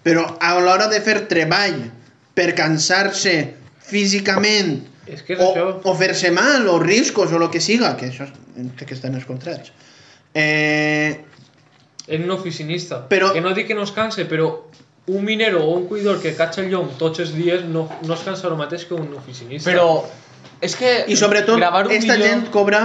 A: però a l'hora de fer treball per cansar-se físicament
D: És que és
A: o,
D: això.
A: o fer-se mal, o riscos, o lo que siga, que això és- crec que estan els contrats. Eh,
D: És un oficinista.
A: Però-
D: Que no dic que no es canse, però un minero o un cuidador que cacha el llom tots els dies no, no es cansa el mateix que un oficinista.
C: Però és que...
A: I sobretot,
C: Eh, gravar un
A: esta
C: vídeo-
A: gent cobra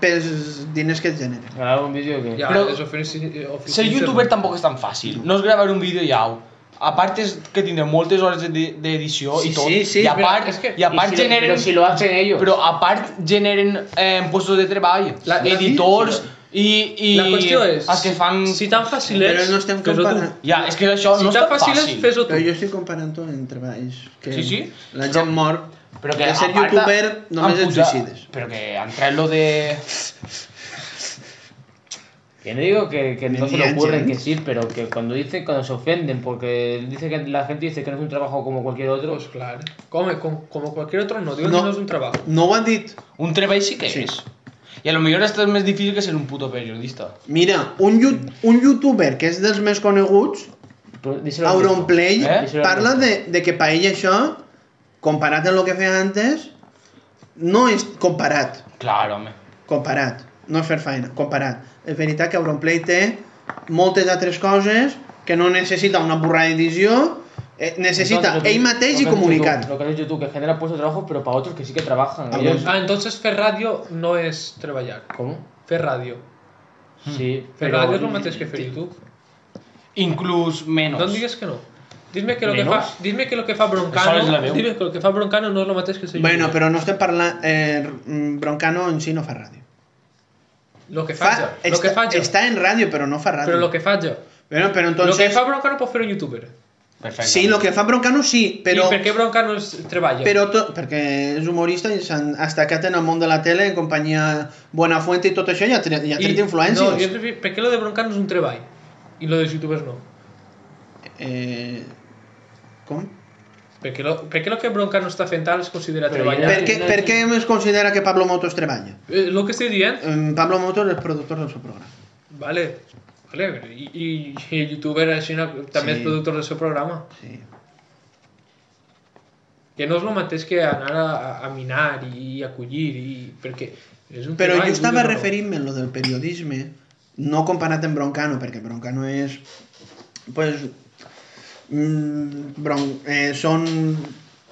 A: pels diners que et generen.
B: Grabar un vídeo que...
D: Ja,
C: però-
D: els ofici- oficistes
C: Ser youtuber
D: no.
C: tampoc és tan fàcil. No és gravar un vídeo i au. A part és que tindrà moltes hores de- d'edició
A: Sí,
C: i tot.
A: sí, sí,
C: I a
D: però
C: part,
D: és que-
C: i a part
B: Y si lo-
C: generen...
B: Pero si lo hacen ellos.
C: Però a part generen eh, puestos de treball,
D: La- la-
C: editors i, i
D: La qüestió és,
C: els que fan...
D: si tan fàcil és,
A: Però no estem
D: fes-ho tu.
A: comparant.
C: Ja, és que això no
D: Si
C: és
D: tan
C: tan
D: fàcil és,
C: fàcil.
D: fes-ho tu.
A: Però jo estic comparant tot entre treballs que
C: Sí, sí.
A: la gent mor
C: Però que
A: de ser
C: a part
A: youtuber
C: han
A: només et
C: posat-
A: suïcides.
C: Però que han tret lo de...
B: Que no digo que, que no se
A: Mendiantes.
B: le ocurren que sí, pero que cuando dicen, cuando se ofenden, porque dice que la gente dice que no es un trabajo como cualquier otro.
D: Pues clar. Com, com, com qualsevol altre no, diuen
A: No.
D: que no és un treball.
A: No ho han dit.
C: Un treball sí que
A: Sí.
C: és. I a lo millor esto és més difícil que ser un puto periodista.
A: Mira, un, you un youtuber que és dels més coneguts,
B: Pero díselo al mismo.
A: Auronplay,
C: Eh?
A: eh? parla de, de que per ell això, comparat amb el que feia antes, no és comparat,
C: Clar, home.
A: comparat, no és fer feina, comparat. És veritat que Auronplay té moltes altres coses que no necessita una burra d'edició, eh, necessita
B: Entonces, lo que-
A: ell mateix i
B: lo que has dicho
A: comunicar.
B: tú, Lo que has dicho tú, que genera puestos de trabajo, pero para otros que sí que trabajan.
A: Ah,
B: Ellos-
A: bueno.
D: Ah, entonces fer ràdio no és treballar.
B: ¿Cómo?
D: Fer ràdio.
B: Sí,
D: Fer
B: pero...
D: ràdio és el mateix que fer YouTube.
C: Inclús
D: No em
C: menys.
D: digues que no. Dime que, lo que fa,
C: Menos?
D: dime que lo que fa
C: Això és la
D: Broncano,
C: meu.
D: dime que lo que fa Broncano no és el mateix que ser
A: Bueno,
D: youtuber.
A: però no estem parlant... Eh, mm, Broncano en si no fa ràdio.
D: Lo que faig, lo
A: està,
D: que faig.
A: està en ràdio, però no fa ràdio.
D: Però lo que faig.
A: Bueno, però
D: Lo que
A: entonces...
D: fa Broncano pues, pot fer un youtuber.
C: Perfecte.
A: Sí, lo que fa Broncano sí, però...
D: Però... I per què Broncano es treballa?
A: Però tot, perquè és humorista i s'han estacat en el món de la tele en companyia Buenafuente i tot això i ha, tre- i ha tret
D: I-
A: influències.
D: No, jo prefer... per què lo de Broncano és un treball? I lo dels youtubers no?
A: eh, com?
D: Per què lo, per què lo que Broncano està fent ara es considera
B: Però
D: treballar?
B: ja-
A: Per què,
B: no,
A: per
B: sí.
A: què es considera que Pablo Motos treballa?
D: Eh, lo que estic dient,
A: Em, Pablo Motos és productor del seu programa.
D: vale, vale, i, i, i el youtuber així no- també
A: Sí.
D: és productor del seu programa.
A: Sí.
D: Que no és el mateix que anar a, a- a minar i a collir, i, perquè és un
A: Però
D: treball,
A: jo estava
D: vull dir, no.
A: referint-me en lo del periodisme, no comparat amb Broncano, perquè Broncano és... Pues, mm, bron, eh, són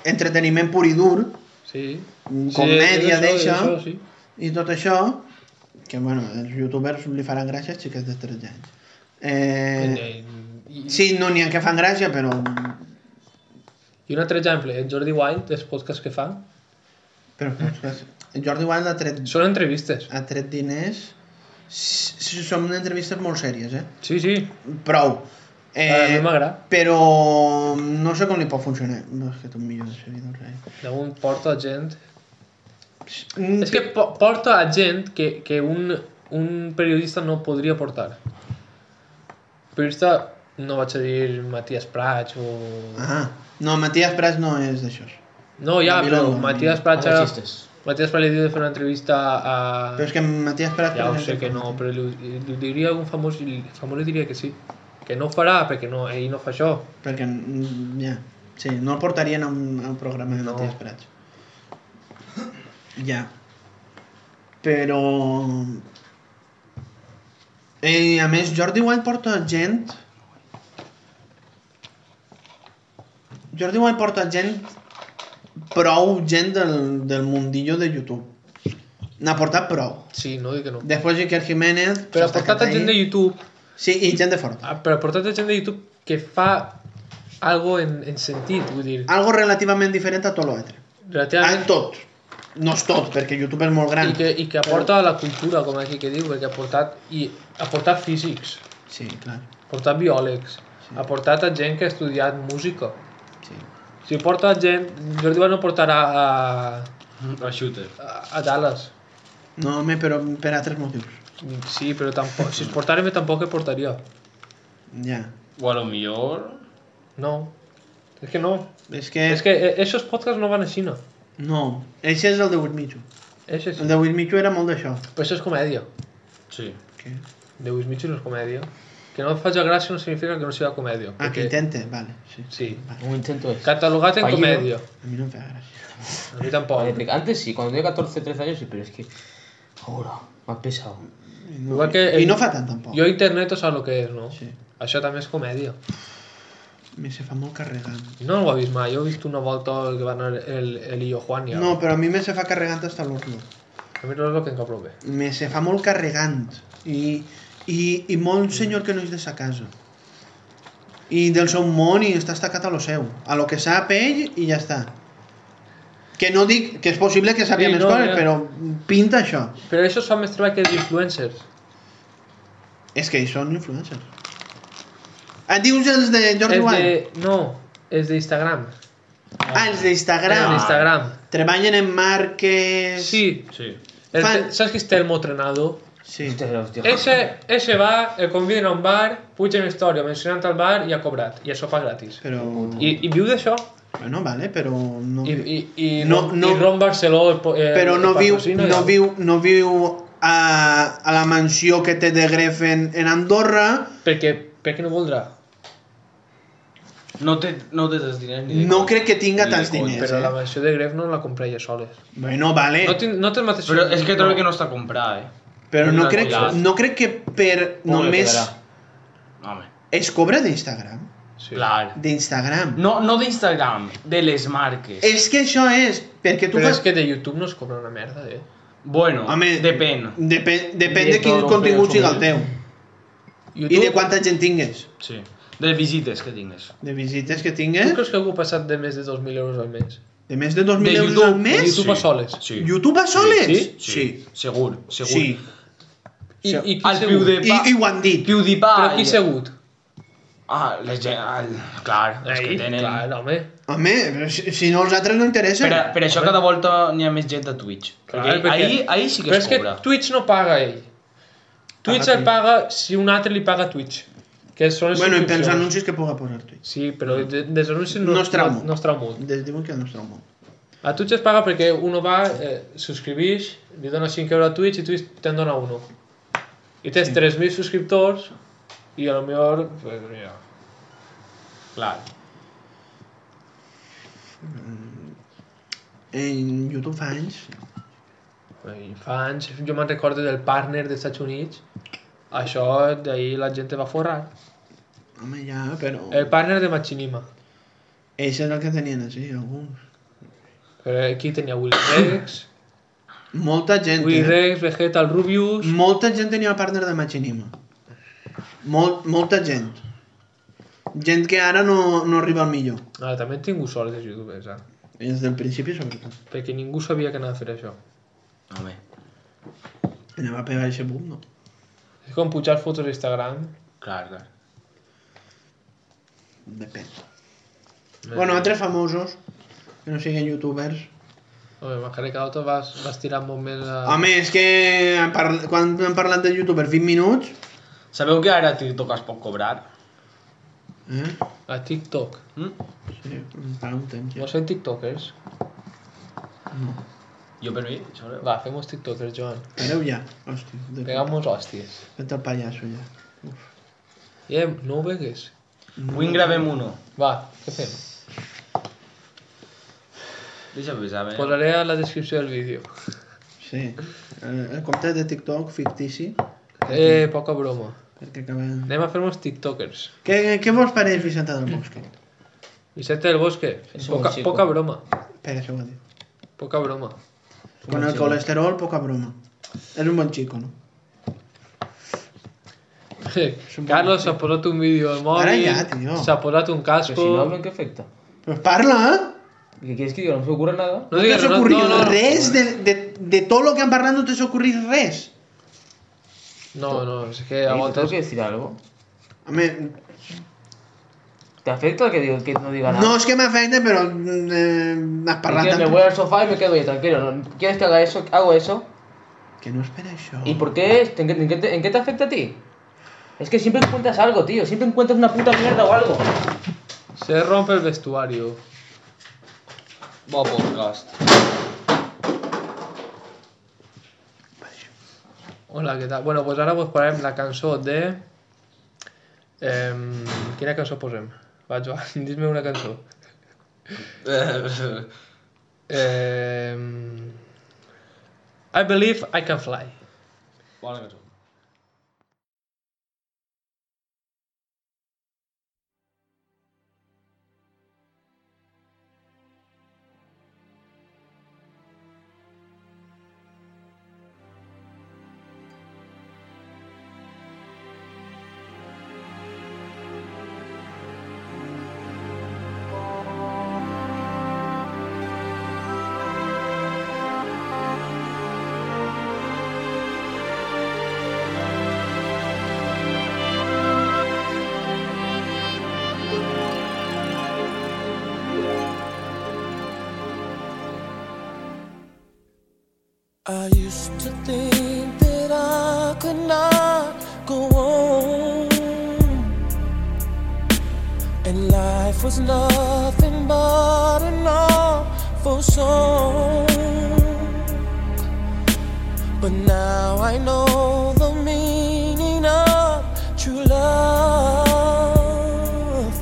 A: entreteniment pur i dur,
D: Sí.
A: mm,
D: Sí,
A: comèdia
D: és
A: d'això...
D: és això, sí.
A: I tot això, que bueno, els youtubers li faran gràcia a xiquets de 13 anys. Eh,
D: Eh, i-
A: sí, no n'hi ha que fan gràcia, però...
D: I un altre exemple, el Jordi Wild, els podcasts que fa,
A: però ostres, el Jordi Wild ha tret,
D: són entrevistes.
A: ha tret diners... S- s- Són entrevistes molt sèries, eh?
D: Sí, sí,
A: Prou.
D: a mi
A: Eh,
D: m'agrada.
A: però no sé com li pot funcionar. No, és que tu millor de seguidor, eh?
D: Damunt porta gent...
A: Mm,
D: És que po- porta a gent que, que un, un periodista no podria portar. Periodista no vaig a dir Matías Prats o...
A: Ah, no, Matías Prats no és d'això.
D: No, ja, però
A: Milonga,
D: Matías Prats...
B: Ahora
D: Ara,
B: chistes.
D: Matías Prats li diu de fer una entrevista a...
A: Però és que Matías Prats...
D: Ja
A: per
D: ho
A: exemple,
D: sé que no, però li, li diria un famós i el famós li diria que sí. Que no ho farà perquè no, ell no fa això.
A: Perquè, mm, ja, sí, no el portarien a un, a un programa de
D: No.
A: Matías Prats. Ja. Però... Eh, a més, Jordi Wild porta gent... Jordi Wild porta gent... Prou gent del, del mundillo de YouTube. N'ha portat prou.
D: Sí, no dic que no.
A: Després Iker Jiménez...
D: Però ha
A: Sosta
D: portat a
A: Cataí.
D: gent de YouTube
A: Sí, i gent de fort.
D: Ah, però portat gent de YouTube que fa algo en, en sentit, vull dir,
A: Algo relativament diferent a tot l'altre.
D: relativament...
A: Ah, tot. No és tot, perquè YouTube és molt Ah, gran.
D: I que, I que aporta a la cultura, com aquí que diu, perquè ha portat, i ha portat físics,
A: Sí, clar.
D: ha portat biòlegs, ha portat a gent que ha estudiat música.
A: Sí.
D: Si porta gent, Jordi Vall no portarà a,
C: A shooter.
D: a, a Dallas.
A: No, home, però per altres motius.
D: Sí, però tampoc, si es portara bé tampoc el portaria.
A: Ja.
C: O a lo millor...
D: No. És que no.
A: És que...
D: És que eh, esos podcasts no van a Xina.
A: No, eixe és el de 8 mitjo.
D: Això
A: El
D: sí. Pues
A: de 8 mitjo era molt d'això.
D: Però això és comèdia.
C: Sí.
A: Que...
D: De Luis Mitchell no és comèdia. Que no et faci gràcia no significa que no sigui comèdia.
A: Ah, que intente, vale. Sí.
D: Sí.
B: Un intento es.
D: Catalogat en
B: Fallido.
D: comèdia.
A: A mi no em fa gràcia.
D: A mi tampoc.
B: Antes sí, cuando tenía 14, 13 años sí, pero es que... Ahora, más pesado.
D: Igual que...
A: I no fa tant, tampoc.
D: Jo a internet ho sap el que és, no?
A: Sí.
D: Això també és comèdia.
A: Me se fa molt carregant.
D: No ho ha vist mai, jo he vist una volta el que va anar el, el Illo Juan i
A: No, però a mi me se fa carregant hasta l'urno.
D: A mi no és el que em cau prou bé.
A: Me se fa molt carregant. I, i, i
D: Mm.
A: molt senyor que no és de sa casa. I del seu món i està estacat a lo seu. A lo que sap ell i ja està. Que no dic que és possible que sàpia
D: Sí,
A: més
D: no,
A: coses,
D: ja.
A: però pinta això.
D: Però això es fa més treball que els influencers.
A: És que ells són influencers. Et dius els de Jordi
D: els
A: Wild?
D: de... No, els d'Instagram.
A: Ah, els d'Instagram.
D: Els d'Instagram.
A: Treballen en marques...
D: Sí.
E: Sí.
D: El,
A: Fan-
D: ¿Sabes que es Telmo Trenado?
A: Sí.
B: Hostia, hostia.
D: Ese, ese va, el conviden a un bar, puja una història mencionant el bar i ha cobrat. I el sopar gratis.
A: Però...
D: I, i viu d'això.
A: Bueno, vale, però no...
D: I, i, i,
A: No, no.
D: i Ron Barceló el, po- el,
A: però no
D: el
A: viu,
D: patrocina i
A: no
D: el-
A: viu, no viu a, a la mansió que té de Grefen en Andorra,
D: Perquè, perquè no voldrà.
E: No té, no té tants diners ni de
A: no
E: conya.
A: crec que tinga
E: Ni de
A: tants
E: conya.
A: diners.
D: Però la
A: Eh?
D: mansió de Gref no la compra ella soles.
A: Bueno, vale,
D: No, tin- no té el mateix...
E: Però és que trobo que no està comprat, eh?
A: però
E: no
A: no crec,
E: quedarà.
A: no crec que per
B: Pobre
A: només...
B: quedarà.
E: Home,
A: Es cobra d'Instagram?
D: Sí.
E: clar.
A: D'Instagram.
E: No, no d'Instagram, de les marques.
A: És que això és... Perquè tu
D: Però és
A: fas...
D: que de YouTube no es cobra una merda, eh?
E: Bueno,
A: Home,
E: depèn.
A: Depèn, depèn de
B: Director,
A: quin
B: un
A: contingut
B: pedazo
A: siga el
B: de-
A: teu.
D: YouTube,
A: I de quanta gent tingues.
E: Sí. De visites que tingues.
A: De visites que
D: Tu
A: tingues.
D: creus que algú ha passat de més de 2.000 euros al mes?
A: De més de 2.000
E: De
A: euros
E: YouTube,
A: al mes?
D: De YouTube a soles.
E: Sí.
A: YouTube a soles?
D: Sí,
A: Sí.
E: Segur, segur.
A: Sí.
D: I,
A: Sí.
D: i qui
E: El
D: segut?
E: PewDiePie...
A: I, I ho han dit.
E: PewDiePie...
D: Però qui segut?
E: Ah, la gent... El... Clar, els que
D: Ei,
E: tenen...
D: Clar, home.
A: Home, si, si no els altres no
E: Per,
A: interessen.
E: a- per això cada volta n'hi ha més gent a Twitch.
D: Clar,
E: Perquè
D: perquè-
E: ahir, ahir sí que
D: Però
E: es
D: és que
E: cobra.
D: Twitch no paga ell. Twitch
A: Paga
D: el paga si un altre li paga a Twitch. Que són les
A: Bueno, i pels
D: subscripcions.
A: anuncis que puga posar tu.
D: Sí, però de, dels anuncis
A: No
D: no,
A: es trau molt.
D: No, no es trau molt.
A: Des diuen que no està molt.
D: A Twitch es paga perquè uno va, eh, subscrivix, li dona 5 euros a Twitch i Twitch te'n dona uno. I tens 3.000 subscriptors i a lo millor... Pues, mira.
E: Clar.
A: En YouTube fa anys.
D: I fa anys, jo me'n recordo del partner dels Estats Units, això d'ahir la gent te va forrar.
A: Home, ja, però...
D: El partner de Machinima.
A: Això és el que tenien així, alguns.
D: Però aquí tenia Will Rex,
A: Molta gent,
D: Will
A: eh?
D: Rex, Vegeta, el Rubius...
A: Molta gent tenia el partner de Machinima. Mol, molta gent. Gent que ara no, no arriba al millor.
D: Ara, Ah, també hem tingut sort els youtubers, eh?
A: Des del principi, sobretot.
D: Perquè ningú sabia que anava a fer això.
E: Home.
A: Anava a pegar aquest boom, no?
D: És com pujar fotos a Instagram.
E: Clar, clar.
A: Depèn. Bueno, altres famosos que no siguin youtubers.
D: Home, m'encara que l'altre vas, vas tirar molt més a...
A: A més, que han parl- quan hem parlat de youtubers 20 minuts...
E: Sabeu que ara a TikTok es pot cobrar?
A: Eh?
D: A TikTok.
E: Mm?
A: Sí, doncs para un temps.
D: No som tiktokers.
E: Jo per mi, sobre...
D: Va, fem uns tiktokers, Joan.
A: Pareu ja. Hòstia, de...
D: Pegam-nos hòsties.
A: Fet el pallasso ja.
D: Eh, no ho vegues.
E: Avui en gravem uno.
D: Va, què fem?
E: Deixa pesar, eh?
D: Posaré a la descripció del vídeo.
A: Sí. El, el compte de TikTok fictici,
D: Eh, poca broma.
A: perquè acaben...
D: Anem a fer uns tiktokers.
A: Què, què vos pareix Vicenta del Bosque?
D: Vicente del Bosque,
B: És un
D: poca,
B: bon chico.
D: poca broma.
A: Espera, això ho ha dit.
D: Poca broma.
A: Con el colesterol, poca broma. És un bon xico, no? un bon
D: Carlos s'ha posat un vídeo al mòbil,
A: Ara ja, tio.
D: s'ha posat un
B: Pero
D: casco...
B: si no hablan, ¿qué afecta?
A: Pues parla, eh?
B: ¿Qué quieres que diga? No se me ocurre nada.
A: No
D: digues,
A: t'has ocorrit
D: no, no.
A: res de, de, de tot lo que han parlat, no t'has ocorrit res.
D: No, no, és que
B: Ey, te
D: a
B: tengo
D: voltes...
B: que decir algo.
A: Home,
B: ¿Te afecta que digo que no diga nada?
A: no és que m'afecte, però eh, has
B: Me
A: parlat
B: quedo- Me
A: tant.
B: voy al sofá y me quedo ahí, tranquilo. ¿no? ¿Quieres que haga eso? Hago eso.
A: Que no és per això.
B: ¿Y por qué? es? ¿En qué, en qué te, en qué te afecta a ti? Es que siempre encuentras algo, tío. Siempre encuentras una puta mierda o algo.
D: Se rompe el vestuario.
E: Bo podcast.
D: Hola, què tal? Bueno, pues ara vos posarem la cançó de... Eh, quina cançó posem? Va, Joan, dis-me una cançó. Eh, I believe I can fly.
E: Bona cançó.
F: I used to think that I could not go on, and life was nothing but an awful song. But now I know the meaning of true love.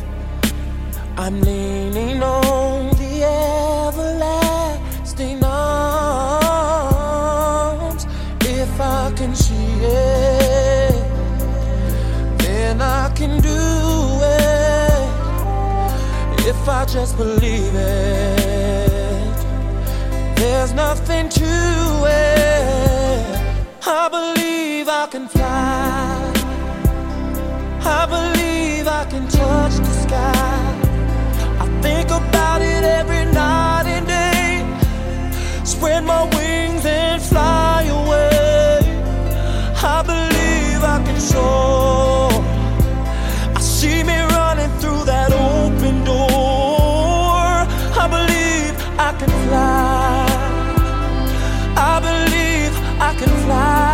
F: I'm leaning on the everlasting arms. If I can see it, then I can do it. If I just believe it, there's nothing to it. I believe I can fly. I believe I can touch the sky. I think about it every night and day. Spread my wings and fly away. I believe I can soar. I see me running through that open door. I believe I can fly. I believe I can fly.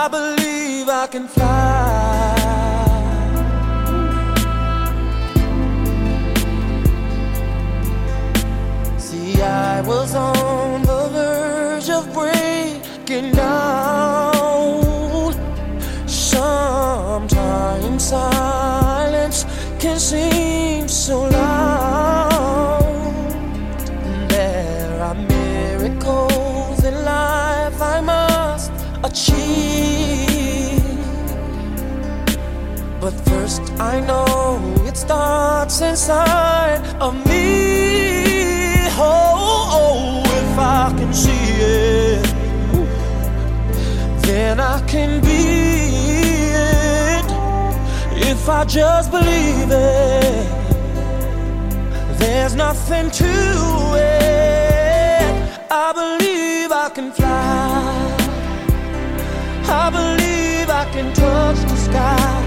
F: I believe I can fly. See, I was on the verge of breaking down. Sometimes silence can seem so loud. There are miracles in life I must achieve. But first I know it starts inside of me. Oh, oh, if I can see it, then I can be it. If I just believe it, there's nothing to it. I believe I can fly. I believe I can touch the sky.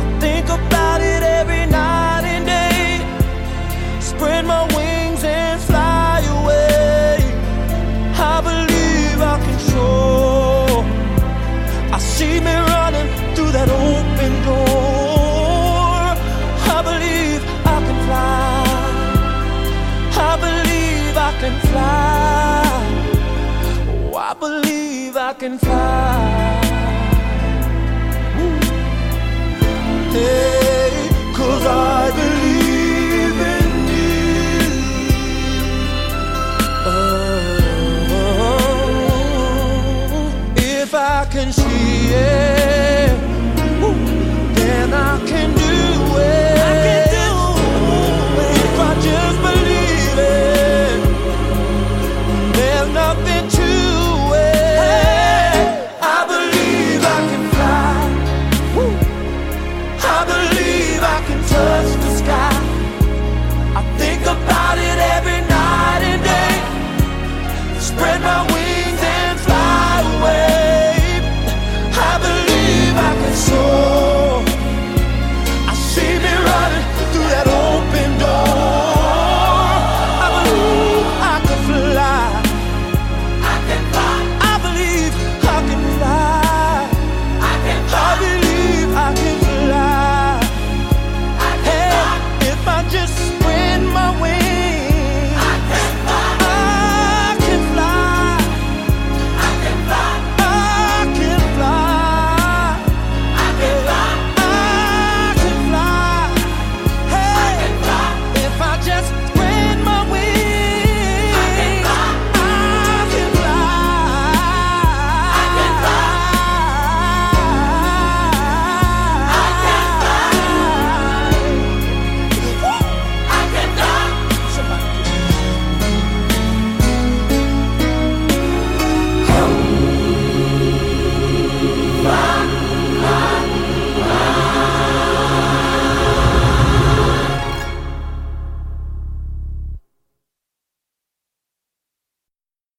F: I think about it every night and day. Spread my wings and fly away. I believe I can soar. I see me running through that open door. I believe I can fly. I believe I can fly. Oh, I believe I can fly. Hey, 'cause I believe in you. Oh, if I can see